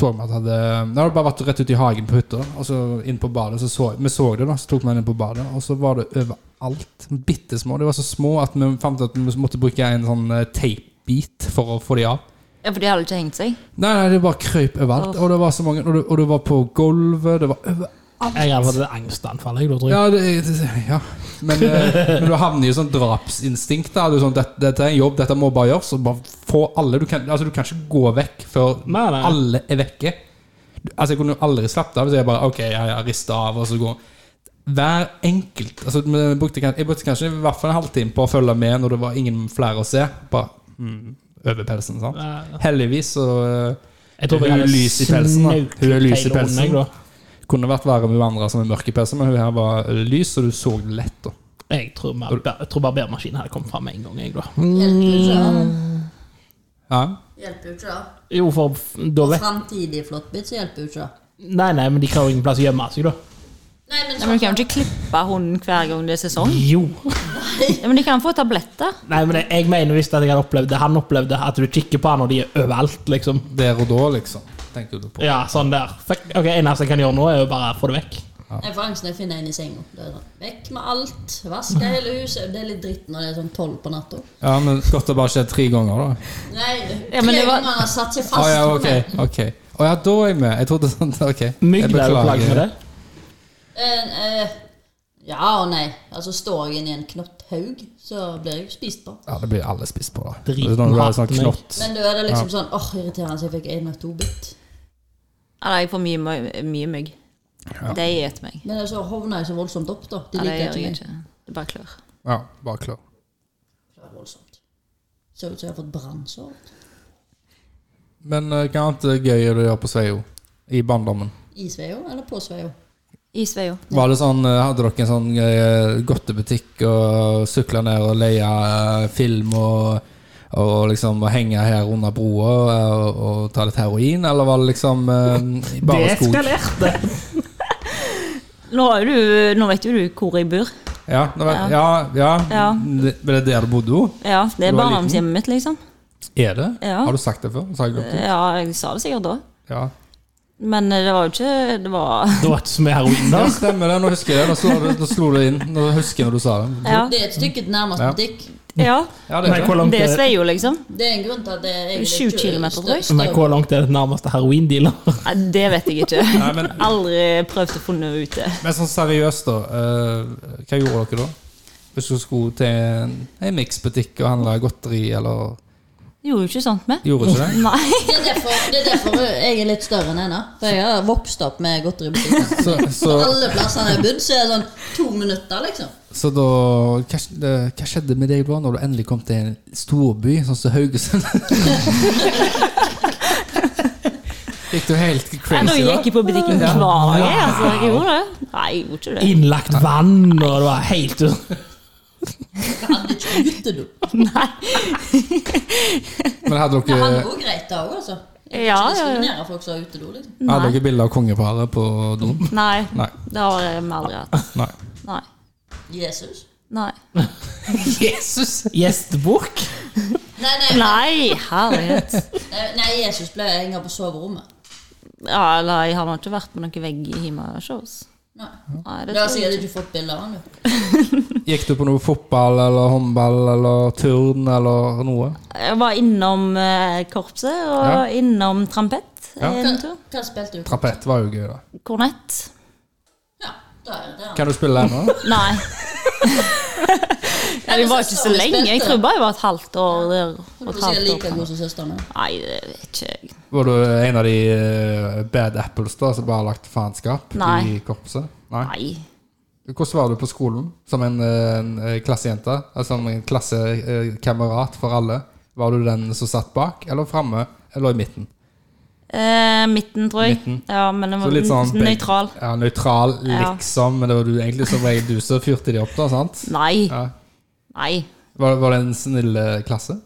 Speaker 1: så vi at det hadde Det hadde bare vært rett ut i hagen på hytta, og så inn på badet. Så så, vi så det, da, så tok vi den inn på badet, og så var det overalt. Bitte små. De var så små at vi fant at vi måtte bruke en sånn eh, teipbit for å få de av.
Speaker 4: Ja, for de hadde ikke hengt seg.
Speaker 1: Nei, nei, det bare krøyp overalt. Og det var så mange Og det, og det var på gulvet, det var over...
Speaker 2: Jeg hadde fått et angstanfall. Jeg, da, tror jeg.
Speaker 1: Ja, det, det, ja. Men, eh, men du havner i sånn drapsinstinkt. Da. Du er sånn, dette, dette er en jobb, dette må bare gjøres. Og bare få alle Du kan, altså, du kan ikke gå vekk før
Speaker 2: Nei, nei.
Speaker 1: alle er vekke. Altså, Jeg kunne jo aldri slappet av hvis jeg bare Ok, ja, ja, rister av, og så går Hver enkelt altså, Jeg brukte, kan- jeg brukte kanskje i hvert fall en halvtime på å følge med når det var ingen flere å se. Bare mm, over pelsen, sant. Heldigvis så eh,
Speaker 2: jeg
Speaker 1: Hun
Speaker 2: tror jeg
Speaker 1: er
Speaker 2: hadde
Speaker 1: lys i pelsen, da.
Speaker 2: snaut
Speaker 1: Hun er lys i
Speaker 2: hele
Speaker 1: pelsen.
Speaker 2: hånden, jeg, da.
Speaker 1: kunne vært verre med hun andre som er mørke i PC, men hun her var lys, så du så det lett. da.
Speaker 2: Jeg tror, bare- jeg tror barbermaskinen hadde kommet fram med en gang. Jeg, da.
Speaker 3: Hjelper jo
Speaker 2: Mm.
Speaker 3: ikke det.
Speaker 4: Mm.
Speaker 1: Ja.
Speaker 3: Hjelper jo ikke det.
Speaker 2: Jo, for da
Speaker 3: Og
Speaker 2: vet
Speaker 3: framtidig flåttbitt, så hjelper jo ikke det.
Speaker 2: Nei, nei, men de har jo ingen plass å gjemme seg, da.
Speaker 3: Nei,
Speaker 4: Nei, men Du kan jo ikke klippe hunden hver gang det er sesong.
Speaker 2: Jo.
Speaker 4: Ja, men de kan få tabletter.
Speaker 2: Nei, men jeg mener visst at jeg hadde opplevd det. Han opplevde at du kikker på han når de er overalt, liksom.
Speaker 1: Der og da, liksom, tenkte du på.
Speaker 2: Ja, sånn der. Fuck. Ok, Eneste jeg kan gjøre nå, er jo bare å få det vekk.
Speaker 3: Jeg får angst når jeg finner en i senga. Det er sånn, Vekk med alt. Vaske hele huset. Det er litt dritt når det er sånn tolv på natta.
Speaker 1: Ja, men Godt det bare skjedde tre ganger, da.
Speaker 3: Nei,
Speaker 4: Ja, men
Speaker 3: tre
Speaker 4: det var-
Speaker 3: ganger har satt seg
Speaker 1: Å
Speaker 3: fast.
Speaker 1: Ah, ja, ok. ok. Å ja, da er jeg med. Jeg trodde sånn Ok. jeg
Speaker 2: Mygg er jo plagg med det.
Speaker 3: Eh, eh, ja og nei. Altså, står jeg inni en knotthaug, så blir jeg jo spist på.
Speaker 1: Ja, det blir alle spist på, da.
Speaker 2: Driten
Speaker 1: Det er sånn, det er sånn
Speaker 2: hater meg.
Speaker 1: knott.
Speaker 3: Men da er det liksom sånn åh, irriterende, så jeg fikk en av to bitt.
Speaker 4: Ja, nei, jeg får mye, mye, mye mygg. De spiser meg.
Speaker 3: Men så hovner jeg så voldsomt opp, da. De
Speaker 4: Ja, det
Speaker 3: liker
Speaker 4: gjør
Speaker 3: ikke
Speaker 4: jeg
Speaker 3: meg.
Speaker 4: ikke. Det er bare klør.
Speaker 1: Ja, bare klør.
Speaker 3: Det var voldsomt. Ser ut som jeg har fått brannsår.
Speaker 1: Men eh, hva annet er gøy er det å gjøre på Sveio? I barndommen?
Speaker 3: I sveio eller på sveio?
Speaker 4: I Sveio.
Speaker 1: Var det sånn, eh, Hadde dere en sånn eh, godtebutikk og sykla ned og leie eh, film og, og liksom og henge her under broa eh, og, og ta litt heroin, eller var det liksom eh, bare skog?
Speaker 2: eskalerte!
Speaker 4: Nå, er du, nå vet jo du hvor jeg bor.
Speaker 1: Ja, nå vet, ja. ja,
Speaker 4: Ja.
Speaker 1: Det- Var det der du bodde?
Speaker 4: Ja, Det
Speaker 1: Du
Speaker 4: er
Speaker 1: var
Speaker 4: barndomshjemmet mitt, liksom.
Speaker 1: Er det?
Speaker 4: Ja. Eh.
Speaker 1: Har du sagt det før? Sa jeg glemt det?
Speaker 4: Ja, jeg sa det sikkert da.
Speaker 1: Ja.
Speaker 4: Men eh, det var jo ikke Det var
Speaker 2: Det var ikke så mye heroin
Speaker 1: ja,
Speaker 2: der.
Speaker 1: stemmer det. Nå husker jeg det. Nå slo, det- nå slo det inn. Nå husker jeg når du sa det.
Speaker 4: Ja.
Speaker 3: Det er et stykke til nærmeste
Speaker 1: Ja.
Speaker 3: butikk.
Speaker 4: ja.
Speaker 1: Ja, det
Speaker 2: Men
Speaker 1: er
Speaker 2: hvor
Speaker 1: det.
Speaker 2: langt
Speaker 4: Det er
Speaker 2: er,
Speaker 4: Sveio, liksom.
Speaker 3: Det er en grunn til at det er
Speaker 4: Sju kilometer, tror jeg.
Speaker 2: men hvor langt er det nærmeste heroindealer?
Speaker 4: Nei, det vet jeg ikke.
Speaker 1: Nei, men,
Speaker 4: Aldri prøvd å finne ut det.
Speaker 1: men sånn seriøst, da. eh, hva gjorde dere da? Hvis du skulle til en, en miksbutikk og handle godteri, eller
Speaker 4: Gjorde jo ikke sånt med.
Speaker 1: Gjorde ikke det?
Speaker 4: Nei.
Speaker 3: Det er, derfor, det er derfor jeg er litt større enn henne. For jeg har vokst opp med godteributikken.
Speaker 1: Så, så,
Speaker 3: Alle plassene jeg har bodd, så er det sånn to minutter, liksom.
Speaker 1: så da hva, sk- eh, hva skjedde med deg da når du endelig kom til en storby sånn som Haugesund? Gikk du helt
Speaker 4: Nei, Da
Speaker 1: crazy da?
Speaker 4: gikk jeg på butikken hver dag. jeg, Altså, jeg gjorde det. Nei, jeg gjorde ikke det.
Speaker 2: Innlagt vann, og det var helt
Speaker 3: Jeg hadde ikke utedo.
Speaker 4: Nei.
Speaker 1: Men hadde
Speaker 3: Det
Speaker 1: dere,
Speaker 3: handler jo greit, da òg, altså. Jeg
Speaker 4: eh, Ja,
Speaker 3: skal ikke
Speaker 4: ja, ja.
Speaker 3: diskriminere folk som har utedo, liksom.
Speaker 1: hadde dere bilde av kongeparet på doen?
Speaker 4: Nei.
Speaker 1: Nei.
Speaker 4: Det har jeg aldri hatt.
Speaker 1: Nei.
Speaker 4: Nei.
Speaker 3: Jesus.
Speaker 4: Nei.
Speaker 2: Jesus! Gjestebok.
Speaker 3: Nei, nei,
Speaker 4: Nei, herlighet.
Speaker 3: nei, nei Jesus ble hengt på soverommet.
Speaker 4: Ja, eller jeg har nå ikke vært på noen vegg i Hima-shows.
Speaker 3: Nei.
Speaker 4: Nei, det
Speaker 3: Du har
Speaker 4: tror jeg
Speaker 3: sikkert
Speaker 4: ikke.
Speaker 3: ikke fått bilde av han, du.
Speaker 1: Gikk du på noe fotball eller håndball eller turn eller noe?
Speaker 4: Jeg var innom eh, korpset og
Speaker 1: Ja.
Speaker 4: innom trampett
Speaker 1: Ja.
Speaker 4: en tur.
Speaker 3: Hva, hva spilte du?
Speaker 1: Trapett var jo gøy, da.
Speaker 4: Kornett.
Speaker 3: Ja, da er det han.
Speaker 1: Kan du spille ennå?
Speaker 4: Nei. ja, det var ikke så lenge. Jeg tror bare jeg var et halvt år der.
Speaker 3: Du
Speaker 4: Og et
Speaker 3: er sikkert
Speaker 4: halvt
Speaker 3: like
Speaker 4: år.
Speaker 3: god som søsteren min.
Speaker 4: Nei, det vet ikke jeg.
Speaker 1: Var du en av de eh, bad apples da, som bare har lagt faenskap
Speaker 4: Nei.
Speaker 1: i korpset?
Speaker 4: Nei.
Speaker 1: Hvordan var du på skolen som en, eh, en eh, klassejente? Altså som en klassekamerat for alle? Var du den som satt bak, eller framme, eller i midten?
Speaker 4: Eh, midten, tror jeg.
Speaker 1: Midten.
Speaker 4: Ja, men den
Speaker 1: Så
Speaker 4: var
Speaker 1: litt sånn beg-
Speaker 4: nøytral.
Speaker 1: Ja, nøytral,
Speaker 4: Ja.
Speaker 1: liksom. Men det var du egentlig som regel du som fyrte de opp, da, sant?
Speaker 4: Nei.
Speaker 1: Ja.
Speaker 4: Nei.
Speaker 1: Var, var det en snill eh, klasse?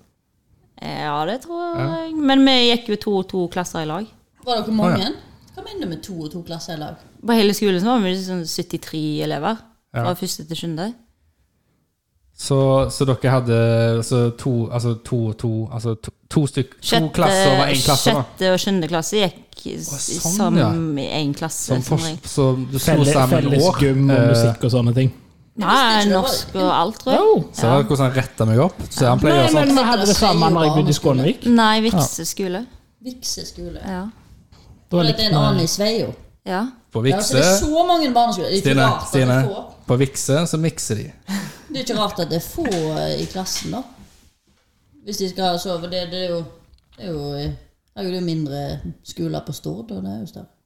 Speaker 4: Eh, Ja, det tror jeg. Men vi gikk jo to og to klasser i lag.
Speaker 3: Var dere mange? Hva mener du med to og to klasser i lag?
Speaker 4: På hele skolen så var vi sånn 73 elever.
Speaker 1: Ja.
Speaker 4: Fra første til sjuende.
Speaker 1: Så, så dere hadde så to, altså to, to, altså to, to, stykk,
Speaker 4: eh,
Speaker 1: to klasser over én klasse? da?
Speaker 4: sjette og sjuende klasse gikk i-
Speaker 1: sånn,
Speaker 4: som
Speaker 1: ja.
Speaker 4: én klasse. sånn
Speaker 1: Som,
Speaker 4: eh,
Speaker 1: for,
Speaker 4: Som regel.
Speaker 1: så du slo
Speaker 2: Felles,
Speaker 1: sammen
Speaker 2: felles
Speaker 1: år?
Speaker 2: gym og
Speaker 1: eh,
Speaker 2: musikk og sånne ting.
Speaker 4: Ja,
Speaker 3: ikke det var-
Speaker 4: norsk og alt, tror jeg.
Speaker 2: Oh.
Speaker 1: Ser du hvordan han retter meg opp? Så han
Speaker 2: Nei,
Speaker 1: pleier sånn.
Speaker 2: men vi hadde det samme når jeg bodde i Skånevik.
Speaker 4: Nei, Vikse skole.
Speaker 3: Vikse skole.
Speaker 4: Ja.
Speaker 2: Da
Speaker 3: For at Det er en
Speaker 2: likte
Speaker 3: annen
Speaker 2: vi
Speaker 3: i Sveio.
Speaker 4: ja.
Speaker 1: sånn På
Speaker 3: Ja, så
Speaker 1: Vikse
Speaker 3: det er så mange barneskoler. Det er ikke
Speaker 1: Stine,
Speaker 3: rart at det
Speaker 1: Stine.
Speaker 3: er få.
Speaker 1: På Vikse så mikser de.
Speaker 3: Det er ikke rart at det er få eh, i klassen, da. Hvis de skal sove. Det, det er jo Det er jo, eh, det er jo mindre skoler på Stord, og det er jo større.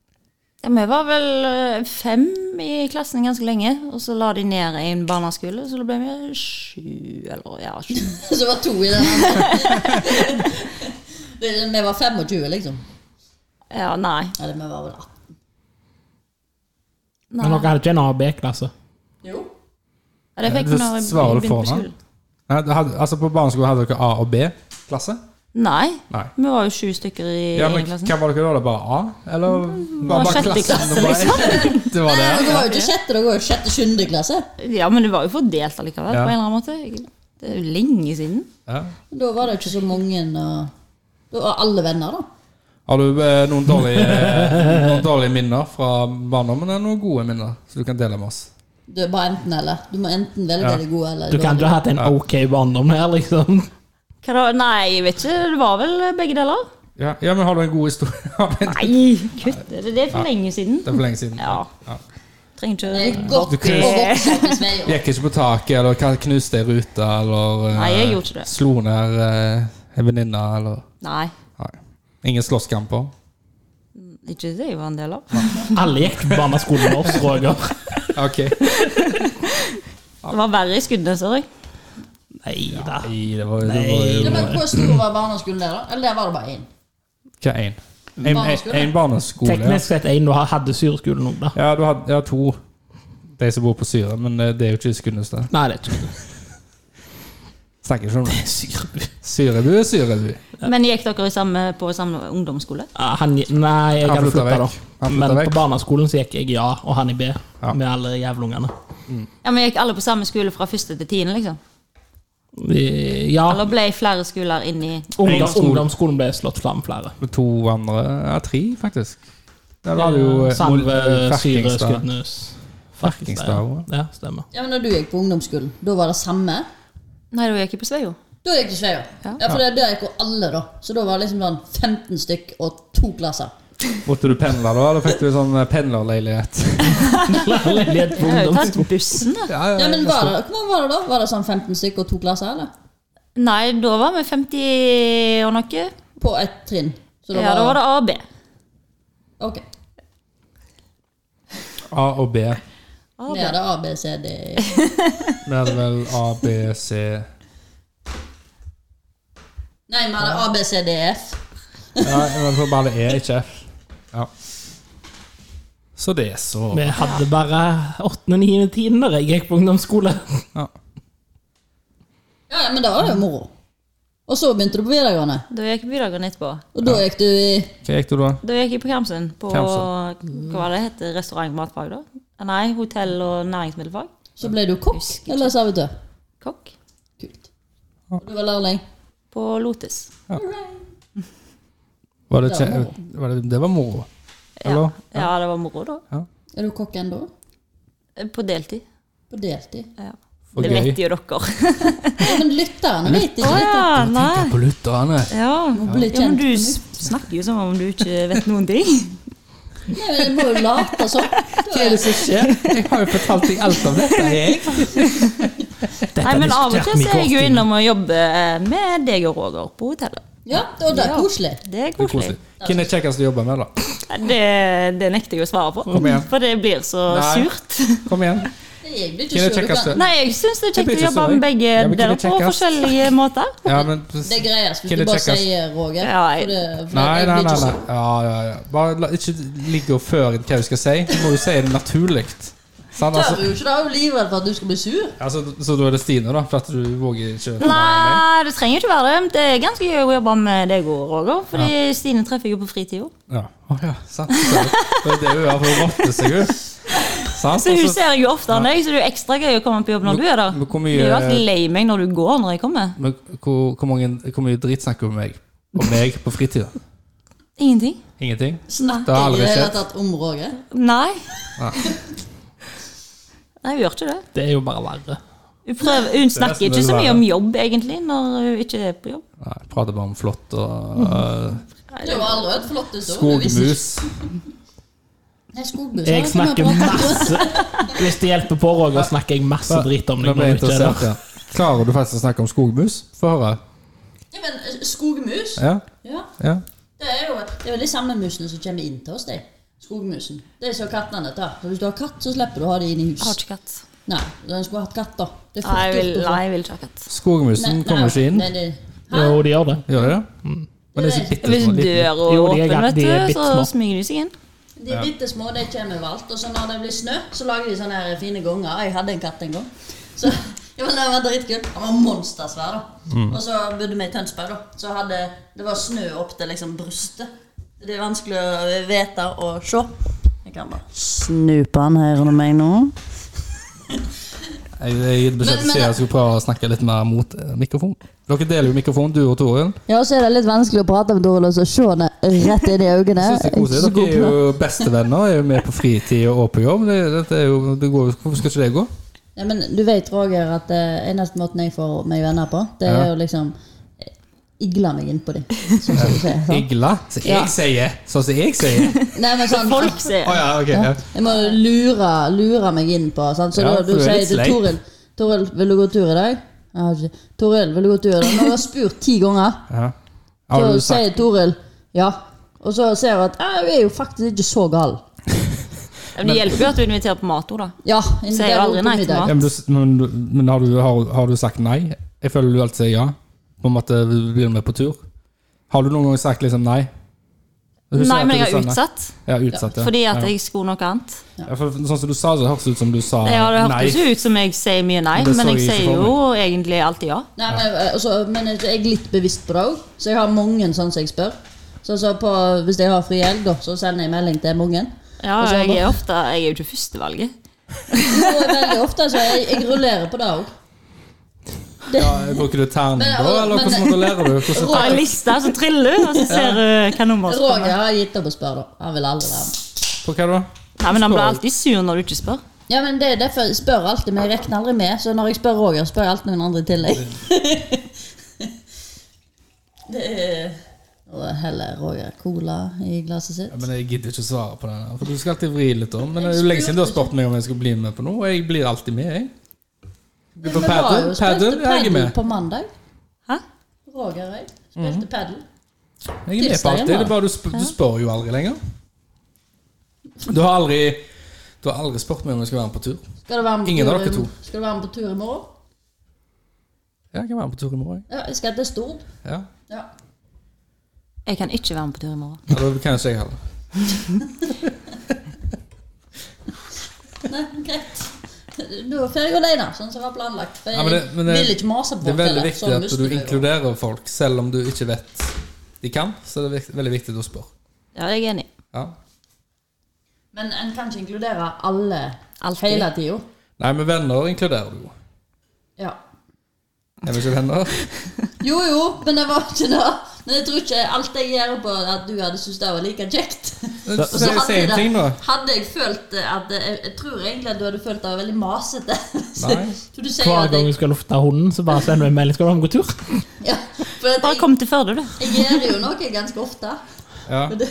Speaker 4: Ja, Vi var vel eh, fem i klassen ganske lenge, og så la de ned i en barneskole, så da ble vi sju, eller ja, sju.
Speaker 3: Så det var to i den andre. Det- Vi var 25, liksom.
Speaker 4: Ja, nei.
Speaker 3: Eller vi var vel 18.
Speaker 4: nei.
Speaker 2: Men dere hadde ikke en AB-klasse?
Speaker 3: Jo.
Speaker 4: Ja, det fikk
Speaker 1: Ja,
Speaker 4: vi
Speaker 1: det
Speaker 4: når vi
Speaker 1: svarer du
Speaker 4: begynte på
Speaker 1: for, da.
Speaker 4: skolen.
Speaker 1: Nei, det hadde, altså På barneskolen hadde dere A og B-klasse?
Speaker 4: Nei,
Speaker 1: Nei.
Speaker 4: vi var jo sju stykker i
Speaker 1: Ja,
Speaker 4: i
Speaker 1: men
Speaker 4: klassen.
Speaker 1: Hva var dere da? Det bare A? Eller
Speaker 4: var
Speaker 1: bare, bare
Speaker 4: sjette
Speaker 1: klassen?
Speaker 4: klasse,
Speaker 1: Det
Speaker 4: liksom.
Speaker 1: var, det var
Speaker 3: Nei,
Speaker 1: det.
Speaker 3: dere var jo ikke sjette, dere var jo sjette-sjuende klasse.
Speaker 4: Ja, men det var jo fordelt allikevel,
Speaker 1: Ja.
Speaker 4: på en eller annen måte. Det er jo lenge siden.
Speaker 1: Ja.
Speaker 3: Da var det ikke så mange og Da var alle venner, da.
Speaker 1: Har du eh, noen dårlige, eh, noen dårlige minner fra barndommen, eller noen gode minner som du kan dele med oss?
Speaker 3: Det er bare enten eller. Du må enten velge
Speaker 1: Ja.
Speaker 3: det gode eller
Speaker 2: Du
Speaker 3: det
Speaker 2: kan ikke
Speaker 3: dårlige.
Speaker 2: ha hatt en ok barndom her, liksom.
Speaker 4: Hva da? Nei, jeg vet ikke. Det var vel begge deler?
Speaker 1: Ja, ja, men Har du en god historie? Har du en-
Speaker 4: Nei, kutt. Det det er for lenge siden.
Speaker 1: Det er for lenge siden.
Speaker 4: Ja. Trenger
Speaker 3: Det
Speaker 4: ikke
Speaker 3: er godt
Speaker 1: Du
Speaker 3: å
Speaker 1: kan-
Speaker 3: vokse opp i Sveio.
Speaker 1: Gikk ikke på taket, eller kan- knuste ei rute, eller eh,
Speaker 4: Nei, jeg gjorde ikke det.
Speaker 1: slo ned eh, ei venninne, eller
Speaker 4: Nei.
Speaker 1: Nei. Ingen slåsskamper.
Speaker 4: Ikke det jeg var en del av.
Speaker 2: Alle gikk på barneskolen vår, Roger.
Speaker 1: Ok.
Speaker 4: Det var verre i skuddene, sorry.
Speaker 2: Nei da.
Speaker 1: Nei, det var, det var
Speaker 2: Nei.
Speaker 1: jo
Speaker 3: Ja, men Hvor stor var barneskolen der, da? Eller der var det bare én?
Speaker 1: Hva er en? En, en, en barneskole. ja.
Speaker 2: Teknisk sett en du har- hadde syreskolen òg, da.
Speaker 1: Ja, du har, ja, to. De som bor på Syre, men eh, det er jo ikke Skunnestad.
Speaker 2: Nei, det er ikke det.
Speaker 1: Snakker ikke om det.
Speaker 2: Syrebu.
Speaker 1: Syrebu er Syrebu.
Speaker 4: Men gikk dere i samme, på samme ungdomsskole?
Speaker 2: Ja, han, nei, jeg
Speaker 1: Han
Speaker 2: hadde
Speaker 1: flytta
Speaker 2: flytta,
Speaker 1: vekk.
Speaker 2: da.
Speaker 1: Han flytta
Speaker 2: Men
Speaker 1: vekk.
Speaker 2: på barneskolen så gikk jeg i A, og han i B.
Speaker 1: Ja.
Speaker 2: Med alle jævlungene.
Speaker 4: Ja, men Gikk alle på samme skole fra første til tiende, liksom?
Speaker 2: I- Ja,
Speaker 4: Eller ble flere skoler inn i
Speaker 1: En
Speaker 2: ungdom,
Speaker 1: skole.
Speaker 2: ungdomsskolen ble slått fram flere.
Speaker 1: Med to andre Ja, tre, faktisk. Der var det jo eh,
Speaker 2: Salve,
Speaker 1: Mol-
Speaker 2: Syre,
Speaker 1: Ferkingstad.
Speaker 2: Skudenes
Speaker 1: Ferkingstad,
Speaker 2: Ferkingstad.
Speaker 1: også.
Speaker 2: Ja, stemmer.
Speaker 3: Ja, men da du gikk på ungdomsskolen, da var det samme?
Speaker 4: Nei, da gikk jeg på Sveio.
Speaker 3: Da gikk det Sveio. Ja.
Speaker 4: Ja.
Speaker 3: for det, der gikk jo alle, da. Så da var det liksom sånn 15 stykk og to klasser.
Speaker 1: Måtte du pendle da? Da fikk du sånn eh, pendlerleilighet.
Speaker 2: Leilighet på
Speaker 4: Jeg har jo tatt
Speaker 2: ungdomsskolen.
Speaker 4: bussen, da.
Speaker 1: Ja,
Speaker 3: Ja, men var det, Hvor mange var det da? Var det sånn 15 stykk og to klasser, eller?
Speaker 4: Nei, da var vi 50 og noe.
Speaker 3: På ett trinn. Så
Speaker 4: Ja, da var det AB.
Speaker 3: Ok.
Speaker 1: A og B.
Speaker 3: Det er det A, B, C, D E.
Speaker 1: Vi hadde vel A, B, C
Speaker 3: Nei, vi hadde A, B, C, D, E, F.
Speaker 1: Ja, men så bare det er ikke F. Ja. Så det er så
Speaker 2: Vi hadde bare åttende, niende, tiende da jeg gikk på ungdomsskole.
Speaker 1: ja.
Speaker 3: Ja, ja, men da var det jo moro. Og så begynte du på videregående.
Speaker 4: Da gikk jeg på videregående etterpå.
Speaker 3: Og da gikk du i
Speaker 1: Hva gikk du da?
Speaker 4: Da gikk jeg på Karmsund. På
Speaker 1: Karmsund.
Speaker 4: hva var det heter restaurant- og matfag, da? Nei, hotell- og næringsmiddelfag.
Speaker 3: Så ble du kokk
Speaker 4: Husker ikke.
Speaker 3: eller servitør.
Speaker 4: Kokk.
Speaker 3: Kult. Og du var lærling.
Speaker 4: På Lotus.
Speaker 1: Var det,
Speaker 3: Det var
Speaker 1: kje- var det, det var moro.
Speaker 4: Ja.
Speaker 1: Eller?
Speaker 4: ja, det var moro, da.
Speaker 3: Er du kokk ennå?
Speaker 4: På deltid.
Speaker 3: På deltid?
Speaker 4: Ja.
Speaker 1: For
Speaker 4: Det
Speaker 1: gøy.
Speaker 4: vet jo dere.
Speaker 3: Ja, men lytterne vet ikke
Speaker 4: Å
Speaker 3: dette.
Speaker 4: ja, nei.
Speaker 1: På lytterne.
Speaker 4: Ja.
Speaker 3: Må bli
Speaker 4: Ja, men
Speaker 3: kjent
Speaker 4: du
Speaker 3: på
Speaker 4: s-
Speaker 3: nytt.
Speaker 4: snakker jo som om du ikke vet noen ting.
Speaker 3: Nei, men jeg Eh, må jo late sånn. Da er-
Speaker 2: som skjer?
Speaker 1: Jeg har jo fortalt deg alt om dette, jeg.
Speaker 4: Nei, men Av og til så er jeg jo innom og jobber eh, med deg og Roger på hotellet.
Speaker 3: Ja, og det er
Speaker 4: Ja.
Speaker 3: koselig.
Speaker 4: Det
Speaker 1: Det
Speaker 4: er
Speaker 1: er koselig.
Speaker 4: koselig.
Speaker 1: Hvem er kjekkest å jobbe med, da?
Speaker 4: Det, det nekter jeg å svare på,
Speaker 1: Kom igjen.
Speaker 4: for det blir så
Speaker 1: Nei.
Speaker 4: surt.
Speaker 1: Kom igjen.
Speaker 3: Jeg blir
Speaker 1: Hvem
Speaker 3: ikke
Speaker 1: er
Speaker 3: sur. du
Speaker 1: kjekkest?
Speaker 3: kan-
Speaker 4: Nei, jeg syns det er
Speaker 1: Det
Speaker 4: kjekt
Speaker 1: blir
Speaker 4: å
Speaker 1: ikke
Speaker 4: jobbe
Speaker 1: så
Speaker 4: med
Speaker 1: gøy.
Speaker 4: begge
Speaker 1: Ja, men hvem
Speaker 4: dere
Speaker 1: er
Speaker 4: på
Speaker 1: kjekkest?
Speaker 4: forskjellige måter.
Speaker 1: Ja, men
Speaker 3: Det er greiest hvis
Speaker 1: Hvem
Speaker 3: du
Speaker 1: er
Speaker 3: bare
Speaker 1: kjekkest?
Speaker 3: sier Roger.
Speaker 4: Ja, jeg-
Speaker 3: for det- for
Speaker 1: Nei,
Speaker 3: jeg
Speaker 1: nei,
Speaker 3: blir
Speaker 1: nei.
Speaker 3: ikke
Speaker 1: nei.
Speaker 3: sur.
Speaker 1: Ja, ja, ja. Bare la, ikke ligge og føre inn hva du skal si. Du må jo si det naturlig. Sant?
Speaker 3: Tør
Speaker 1: Altså,
Speaker 3: jo ikke, da er jo livredd for at du skal bli sur.
Speaker 1: altså, så da er det Stine, da? For at du våger ikke å meg?
Speaker 4: Nei, det trenger ikke være det. Det er ganske gøy å jobbe med deg og Roger, fordi Stine treffer jeg jo på fritida.
Speaker 1: Ja. Å, ja, sant. Så, det er det hun gjør, for hun rotter seg jo. Sant?
Speaker 4: Så hun
Speaker 1: Altså,
Speaker 4: ser jeg jo oftere enn deg, så det er jo ekstra gøy å komme på jobb
Speaker 1: Men-
Speaker 4: når du er der.
Speaker 1: men hvor mye-
Speaker 4: Jeg er jo alltid lei meg når du går når jeg kommer.
Speaker 1: men hvor, hvor, mange, hvor mye dritt snakker hun om meg? Om meg på fritida?
Speaker 4: Ingenting.
Speaker 1: Ingenting? Det
Speaker 3: Snakker
Speaker 1: har jeg
Speaker 3: jeg i
Speaker 1: aldri
Speaker 3: det hele
Speaker 1: sett.
Speaker 3: tatt om Roger?
Speaker 4: Nei.
Speaker 1: Nei.
Speaker 4: Nei, hun gjør ikke det.
Speaker 2: Det er jo bare verre.
Speaker 4: Hun, prøver, hun snakker
Speaker 1: nesten
Speaker 4: ikke
Speaker 1: det
Speaker 4: så mye
Speaker 1: verre.
Speaker 4: om jobb, egentlig, når hun ikke er på jobb.
Speaker 1: Nei, jeg prater bare om flott og
Speaker 3: Mm.
Speaker 1: øh,
Speaker 3: Det var aldri et flott ord.
Speaker 1: skogmus.
Speaker 3: Nei,
Speaker 2: Jeg
Speaker 3: skogmus. det kan vi
Speaker 2: snakker
Speaker 3: prate om.
Speaker 2: masse Hvis det hjelper på, Roger, snakker jeg masse drit om
Speaker 1: Da
Speaker 2: deg.
Speaker 1: ble jeg
Speaker 2: når du ikke er
Speaker 1: interessert,
Speaker 2: der.
Speaker 1: ja. Klarer du faktisk å snakke om skogmus? Få høre.
Speaker 3: Ja, men eh, skogmus,
Speaker 1: Ja,
Speaker 3: ja,
Speaker 1: ja.
Speaker 3: det er jo det er jo de samme musene som kommer inn til oss, de. Skogmusen. Det er så kattene tar. Så hvis du har katt, så slipper du å ha det inn i
Speaker 4: Jeg har
Speaker 3: hus.
Speaker 4: ikke katt.
Speaker 3: Nei, den skulle hatt katt, da. Det er
Speaker 4: Nei, jeg
Speaker 3: fort
Speaker 4: vil,
Speaker 3: gjort å få-
Speaker 4: nei, jeg vil ikke ha katt.
Speaker 1: Skogmusen
Speaker 3: Nei,
Speaker 1: kommer ikke inn.
Speaker 3: nei, det- Hæ?
Speaker 2: Jo, de gjør det.
Speaker 1: Gjør de det? Men det er så bitte
Speaker 4: Hvis
Speaker 1: små. liten.
Speaker 4: døra er
Speaker 2: Jo, de er
Speaker 4: åpen,
Speaker 2: galt-
Speaker 4: vet
Speaker 2: de er
Speaker 4: du, så
Speaker 2: bittsmå.
Speaker 4: smyger de seg inn.
Speaker 3: De er bitte små, de kommer overalt. Og så når det blir snø, så lager de sånne her fine ganger. Jeg hadde en katt en gang. Så ja, men Den var dritkult. Han var monstersvær, da.
Speaker 1: Mm.
Speaker 3: Og så bodde vi i Tønsberg, da. Så hadde, det var snø opp til liksom brystet. Det er vanskelig å vite og se. Jeg kan bare snupe han her under meg nå.
Speaker 1: Jeg jeg gir beskjed til
Speaker 3: Men- men-
Speaker 1: Sia jeg skulle prøve å snakke litt mer mot eh, mikrofon. Dere deler jo mikrofon, du og Torunn.
Speaker 3: Ja, og så er det litt vanskelig å prate med Dorelås og se henne rett inn i øynene.
Speaker 1: Jeg synes det er koselig. Dere er jo bestevenner, er jo med på fritid og på jobb. Det, dette er jo, det går, jo- hvorfor skal ikke det gå?
Speaker 3: Ja, men du vet, Roger, at eh, eneste måten jeg får meg venner på, det er
Speaker 1: Ja.
Speaker 3: jo liksom eh, Igle meg innpå dem, som du sier. sant?
Speaker 1: Igla, som jeg
Speaker 3: Ja.
Speaker 1: sier. Sånn som jeg sier.
Speaker 3: Nei, men sånn,
Speaker 4: Folk ser.
Speaker 1: Å ja, ok. Ja.
Speaker 3: Jeg må lure, lure meg inn på sant? Så
Speaker 1: Ja,
Speaker 3: da,
Speaker 1: for
Speaker 3: du
Speaker 1: du er
Speaker 3: sier
Speaker 1: litt
Speaker 3: til
Speaker 1: sleip.
Speaker 3: Toril Toril, vil du gå tur i dag? Jeg har ikke- Toril, vil du gå tur i dag? Når jeg har spurt ti ganger,
Speaker 1: Ja.
Speaker 3: så
Speaker 1: Har du sagt
Speaker 3: sier Toril ja. Og så ser hun at «Ja, hun er jo faktisk ikke så gal.
Speaker 4: Men det hjelper jo at du inviterer på mat òg, da.
Speaker 3: Ja,
Speaker 4: Sier jo aldri nei til
Speaker 1: ja,
Speaker 4: mat.
Speaker 1: men, du, men, du- men har, du, har, har du sagt nei? Jeg føler du alltid sier ja. På en måte blir med på tur. Har du noen gang sagt liksom nei? Du sier
Speaker 4: Nei,
Speaker 1: at
Speaker 4: men
Speaker 1: du
Speaker 4: jeg har
Speaker 1: sa nei.
Speaker 4: utsatt.
Speaker 1: Ja, utsatt, ja.
Speaker 4: Fordi at
Speaker 1: ja.
Speaker 4: jeg skulle noe annet.
Speaker 1: ja, for Sånn som du sa, så hørtes det ut som du sa
Speaker 4: Ja, det
Speaker 1: nei.
Speaker 4: hørtes jo ut som jeg sier mye nei,
Speaker 1: Det så
Speaker 4: men jeg
Speaker 1: jeg ikke
Speaker 4: sier
Speaker 1: for
Speaker 4: jo egentlig alltid ja.
Speaker 3: Nei, men, altså, men jeg er litt bevisst på det òg, så jeg har mange sånn som jeg spør. Så, så på, hvis jeg har fri helg, da, så sender jeg melding til mange.
Speaker 4: Ja,
Speaker 3: Og så er
Speaker 4: jeg
Speaker 3: det-
Speaker 4: er ofte Jeg er jo ikke førstevalget.
Speaker 3: Og veldig ofte, så jeg, jeg rullerer på det òg.
Speaker 1: Ja, bruker du terning da,
Speaker 3: Men-
Speaker 1: eller
Speaker 3: men-
Speaker 1: hvordan rullerer du? Hvordan,
Speaker 4: Bare en liste, så triller du, og så ser du hva nummer som
Speaker 3: Roger
Speaker 4: kommer.
Speaker 3: har gitt opp å spørre, da. Han vil aldri være med.
Speaker 1: på hva da?
Speaker 4: Nei, men han blir alltid sur når du ikke spør.
Speaker 3: Ja, men det er derfor jeg spør alltid, men jeg regner aldri med. Så når jeg spør Roger, spør jeg alltid noen andre i tillegg. det er Og heller Roger Cola i glasset sitt.
Speaker 1: Ja, men Jeg gidder ikke å svare på den. her, For Du skal alltid vri litt om. Men det er jo lenge siden du har spurt meg om jeg skal bli med på noe, og jeg blir alltid med, jeg.
Speaker 3: Men
Speaker 1: På
Speaker 3: vi har
Speaker 1: padel?
Speaker 3: jo spilt
Speaker 1: Padel? Ja, Jeg er
Speaker 3: padel
Speaker 1: med. Mhm.
Speaker 3: På mandag.
Speaker 4: Hæ?
Speaker 3: Roger og jeg spilte padel.
Speaker 1: Jeg er med på
Speaker 3: Tirsdagen,
Speaker 1: alltid. Det
Speaker 3: da.
Speaker 1: er bare du, sp du spør jo aldri lenger. Du har aldri Du har aldri spurt meg om jeg skal være med på tur.
Speaker 3: Skal du være med på
Speaker 1: Ingen
Speaker 3: tur
Speaker 1: av dere
Speaker 3: i-
Speaker 1: to.
Speaker 3: Skal du være med på tur i morgen?
Speaker 1: Ja, jeg kan være med på tur i morgen.
Speaker 3: Ja, jeg skal til Stord.
Speaker 1: jeg. Ja.
Speaker 3: Ja.
Speaker 4: Jeg kan ikke være med på tur i morgen.
Speaker 1: Ja, da kan ikke jeg heller.
Speaker 3: Nei, greit. Du var ferdig alene, sånn som var planlagt. For jeg
Speaker 1: Ja, men det- men det-
Speaker 3: vil ikke mase på
Speaker 1: Det er veldig
Speaker 3: hotellet, så
Speaker 1: viktig at
Speaker 3: mister
Speaker 1: du
Speaker 3: vi jo.
Speaker 1: inkluderer folk, selv om du ikke vet de kan. Så det er vikt- veldig viktig at du spør.
Speaker 4: Ja, jeg er enig.
Speaker 1: Ja.
Speaker 3: Men en kan ikke inkludere alle
Speaker 4: Alltid.
Speaker 3: hele tida.
Speaker 1: Nei, men venner inkluderer du jo.
Speaker 3: Ja.
Speaker 1: Er vi ikke venner?
Speaker 3: Jo, jo, men det var ikke det. Men jeg tror ikke alt jeg gjør på at du hadde syntes det var like kjekt.
Speaker 1: Så
Speaker 3: Og
Speaker 1: jeg sier en
Speaker 3: hadde,
Speaker 1: ting,
Speaker 3: det,
Speaker 1: da.
Speaker 3: hadde jeg følt at Jeg, jeg tror egentlig at du hadde følt det var veldig masete. Så,
Speaker 1: Nei.
Speaker 3: så du sier
Speaker 2: Hver
Speaker 3: at
Speaker 2: gang
Speaker 3: jeg,
Speaker 2: jeg skal lufte hunden, så bare sender du en melding. Skal du være med på tur?
Speaker 3: ja, for at
Speaker 4: Bare
Speaker 3: jeg,
Speaker 4: kom til Førde, du.
Speaker 3: jeg gjør jo noe ganske ofte.
Speaker 1: Ja.
Speaker 3: Men det,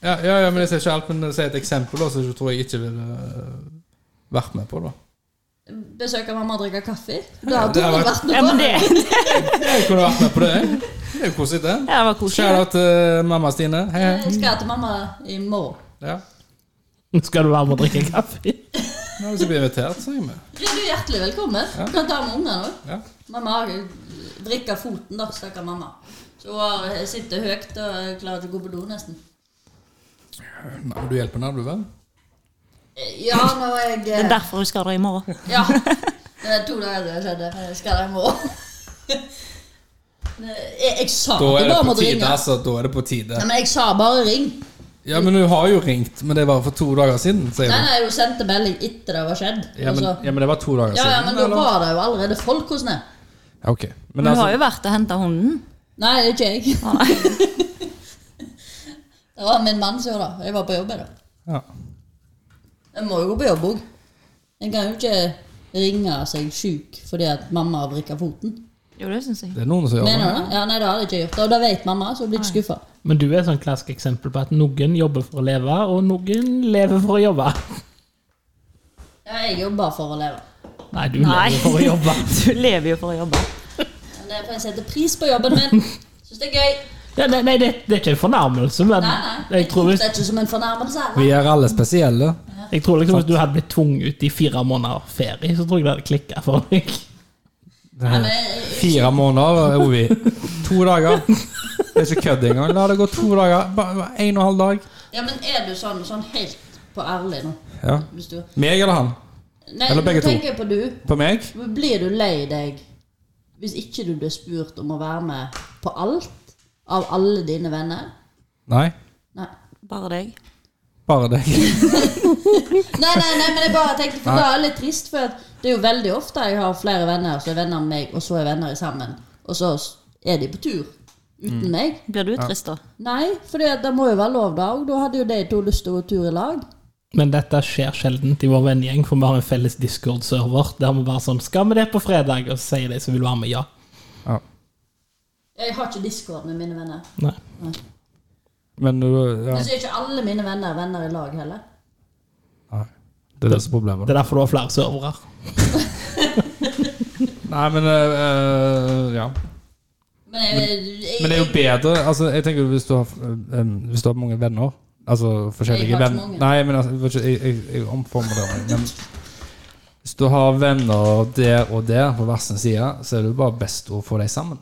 Speaker 1: Ja, ja, ja, men jeg sier ikke alt, men jeg sier et eksempel da, som jeg tror jeg ikke ville øh, vært med på. da.
Speaker 3: besøker mamma og drikker kaffe.
Speaker 1: Ja,
Speaker 3: Da
Speaker 1: det
Speaker 3: hadde
Speaker 1: har
Speaker 3: hun
Speaker 1: vært-
Speaker 3: vært med
Speaker 4: Ja,
Speaker 3: på
Speaker 4: men det, ja,
Speaker 1: Jeg kunne vært med på det. jeg. Det er jo koselig, det.
Speaker 4: det var koselig.
Speaker 1: Shout-out til mamma Stine. Hei, hei.
Speaker 3: Jeg skal til mamma i morgen.
Speaker 1: Ja.
Speaker 2: Skal du være med og drikke kaffe?
Speaker 1: Nå, hvis jeg blir invitert, så er jeg med.
Speaker 3: Ja, du er hjertelig velkommen. Du kan ta med ungene òg.
Speaker 1: Ja.
Speaker 3: Mamma har drikka foten, da, stakkar mamma. Så hun har- sitter høyt og klarer ikke å gå på do, nesten.
Speaker 1: Nei, men du hjelper henne, du, vel?
Speaker 3: Ja, nå er jeg
Speaker 4: Det er
Speaker 3: eh,
Speaker 4: derfor du skal dra i morgen.
Speaker 3: Ja. Det er to dager siden det skjedde. men Jeg skal der i morgen. Jeg, jeg sa
Speaker 1: Da er
Speaker 3: at jeg
Speaker 1: det
Speaker 3: bare
Speaker 1: på
Speaker 3: måtte
Speaker 1: tide.
Speaker 3: ringe.
Speaker 1: altså. Da er det på tide.
Speaker 3: Nei, men jeg sa bare ring.
Speaker 1: Ja, men hun har jo ringt, men det var for to dager siden, sier
Speaker 3: Nei,
Speaker 1: hun.
Speaker 3: nei, hun sendte melding etter det var skjedd.
Speaker 1: Ja, men,
Speaker 3: og
Speaker 1: ja,
Speaker 3: så,
Speaker 1: altså. men det var to dager
Speaker 3: ja,
Speaker 1: siden.
Speaker 3: ja, men da
Speaker 1: eller?
Speaker 3: var det jo allerede folk hos henne.
Speaker 1: Ja, ok. Men
Speaker 4: Men du har
Speaker 1: altså,
Speaker 4: jo vært og henta hunden.
Speaker 3: Nei, det er ikke jeg. det var min mann som gjorde det. Jeg var på jobb. jeg, da.
Speaker 1: ja.
Speaker 3: Jeg må jo gå på jobb òg. En kan jo ikke ringe seg sjuk fordi at mamma har vrikka foten.
Speaker 4: Jo, det syns jeg.
Speaker 1: Det er noen som gjør
Speaker 3: Mener
Speaker 1: det.
Speaker 3: du det? Ja, nei, det hadde jeg ikke gjort. Og det vet mamma, så hun blir ikke skuffa.
Speaker 2: Men du er et sånn klassisk eksempel på at noen jobber for å leve, og noen lever for å jobbe.
Speaker 3: Ja, jeg jobber for å leve.
Speaker 2: Nei, du
Speaker 4: Nei.
Speaker 2: lever for å jobbe.
Speaker 4: Du lever jo for å jobbe.
Speaker 3: Men det er for jeg setter pris på jobben min. Syns det er gøy.
Speaker 2: Ja, nei, nei det, det er ikke en fornærmelse, men
Speaker 3: Nei, nei.
Speaker 2: jeg tror hvis
Speaker 3: det er ikke som en fornærmelse. eller?
Speaker 1: Vi er alle spesielle.
Speaker 2: Jeg tror liksom Hvis du hadde blitt tvunget ut i fire måneder ferie, så tror jeg det hadde klikka for deg.
Speaker 3: Nei, men jeg-
Speaker 1: Fire måneder er vi. To dager. Det er ikke kødd engang. La det gå to dager. Bare en og en halv dag.
Speaker 3: Ja, men er du sånn, sånn helt på ærlig nå?
Speaker 1: Ja.
Speaker 3: Hvis du,
Speaker 1: Meg eller han?
Speaker 3: nei,
Speaker 1: Eller begge
Speaker 3: nå
Speaker 1: to.
Speaker 3: tenker jeg på du.
Speaker 1: På meg?
Speaker 3: Blir du lei deg hvis ikke du blir spurt om å være med på alt av alle dine venner?
Speaker 1: Nei.
Speaker 3: Nei.
Speaker 4: Bare deg.
Speaker 1: Bare deg.
Speaker 3: Nei, nei, nei, men jeg bare tenkte For det er litt trist, for at det er jo veldig ofte jeg har flere venner som er venner med meg, og så er venner sammen. Og så er de på tur uten
Speaker 1: Mm.
Speaker 3: meg.
Speaker 4: Blir du trist, da?
Speaker 3: Nei, for det må jo være lov, da. Og da hadde jo de to lyst til å gå tur i lag.
Speaker 2: Men dette skjer sjelden i vår vennegjeng, for vi har en felles Discord-server der vi bare sånn Skal vi det på fredag? Og så sier de som vil være med, ja.
Speaker 1: Ja.
Speaker 3: Jeg har ikke discord med mine venner.
Speaker 2: Nei.
Speaker 1: Men du ja.
Speaker 3: Men så er ikke alle mine venner venner i lag heller.
Speaker 1: Nei. Det er det som er problemet.
Speaker 2: Det er derfor du har flere servere.
Speaker 1: Nei, men eh, eh, Ja.
Speaker 3: Men, jeg, jeg,
Speaker 1: Men det er jo bedre Altså, jeg tenker jo hvis du har, eh, em, hvis du har mange venner Altså
Speaker 3: Jeg
Speaker 1: forskjellige
Speaker 3: har ikke
Speaker 1: venner
Speaker 3: mange.
Speaker 1: Nei, men altså, jeg, vet ikke, jeg, jeg, jeg omformer det men Hvis du har venner der og der på hver sin side Så er det jo bare best å få deg sammen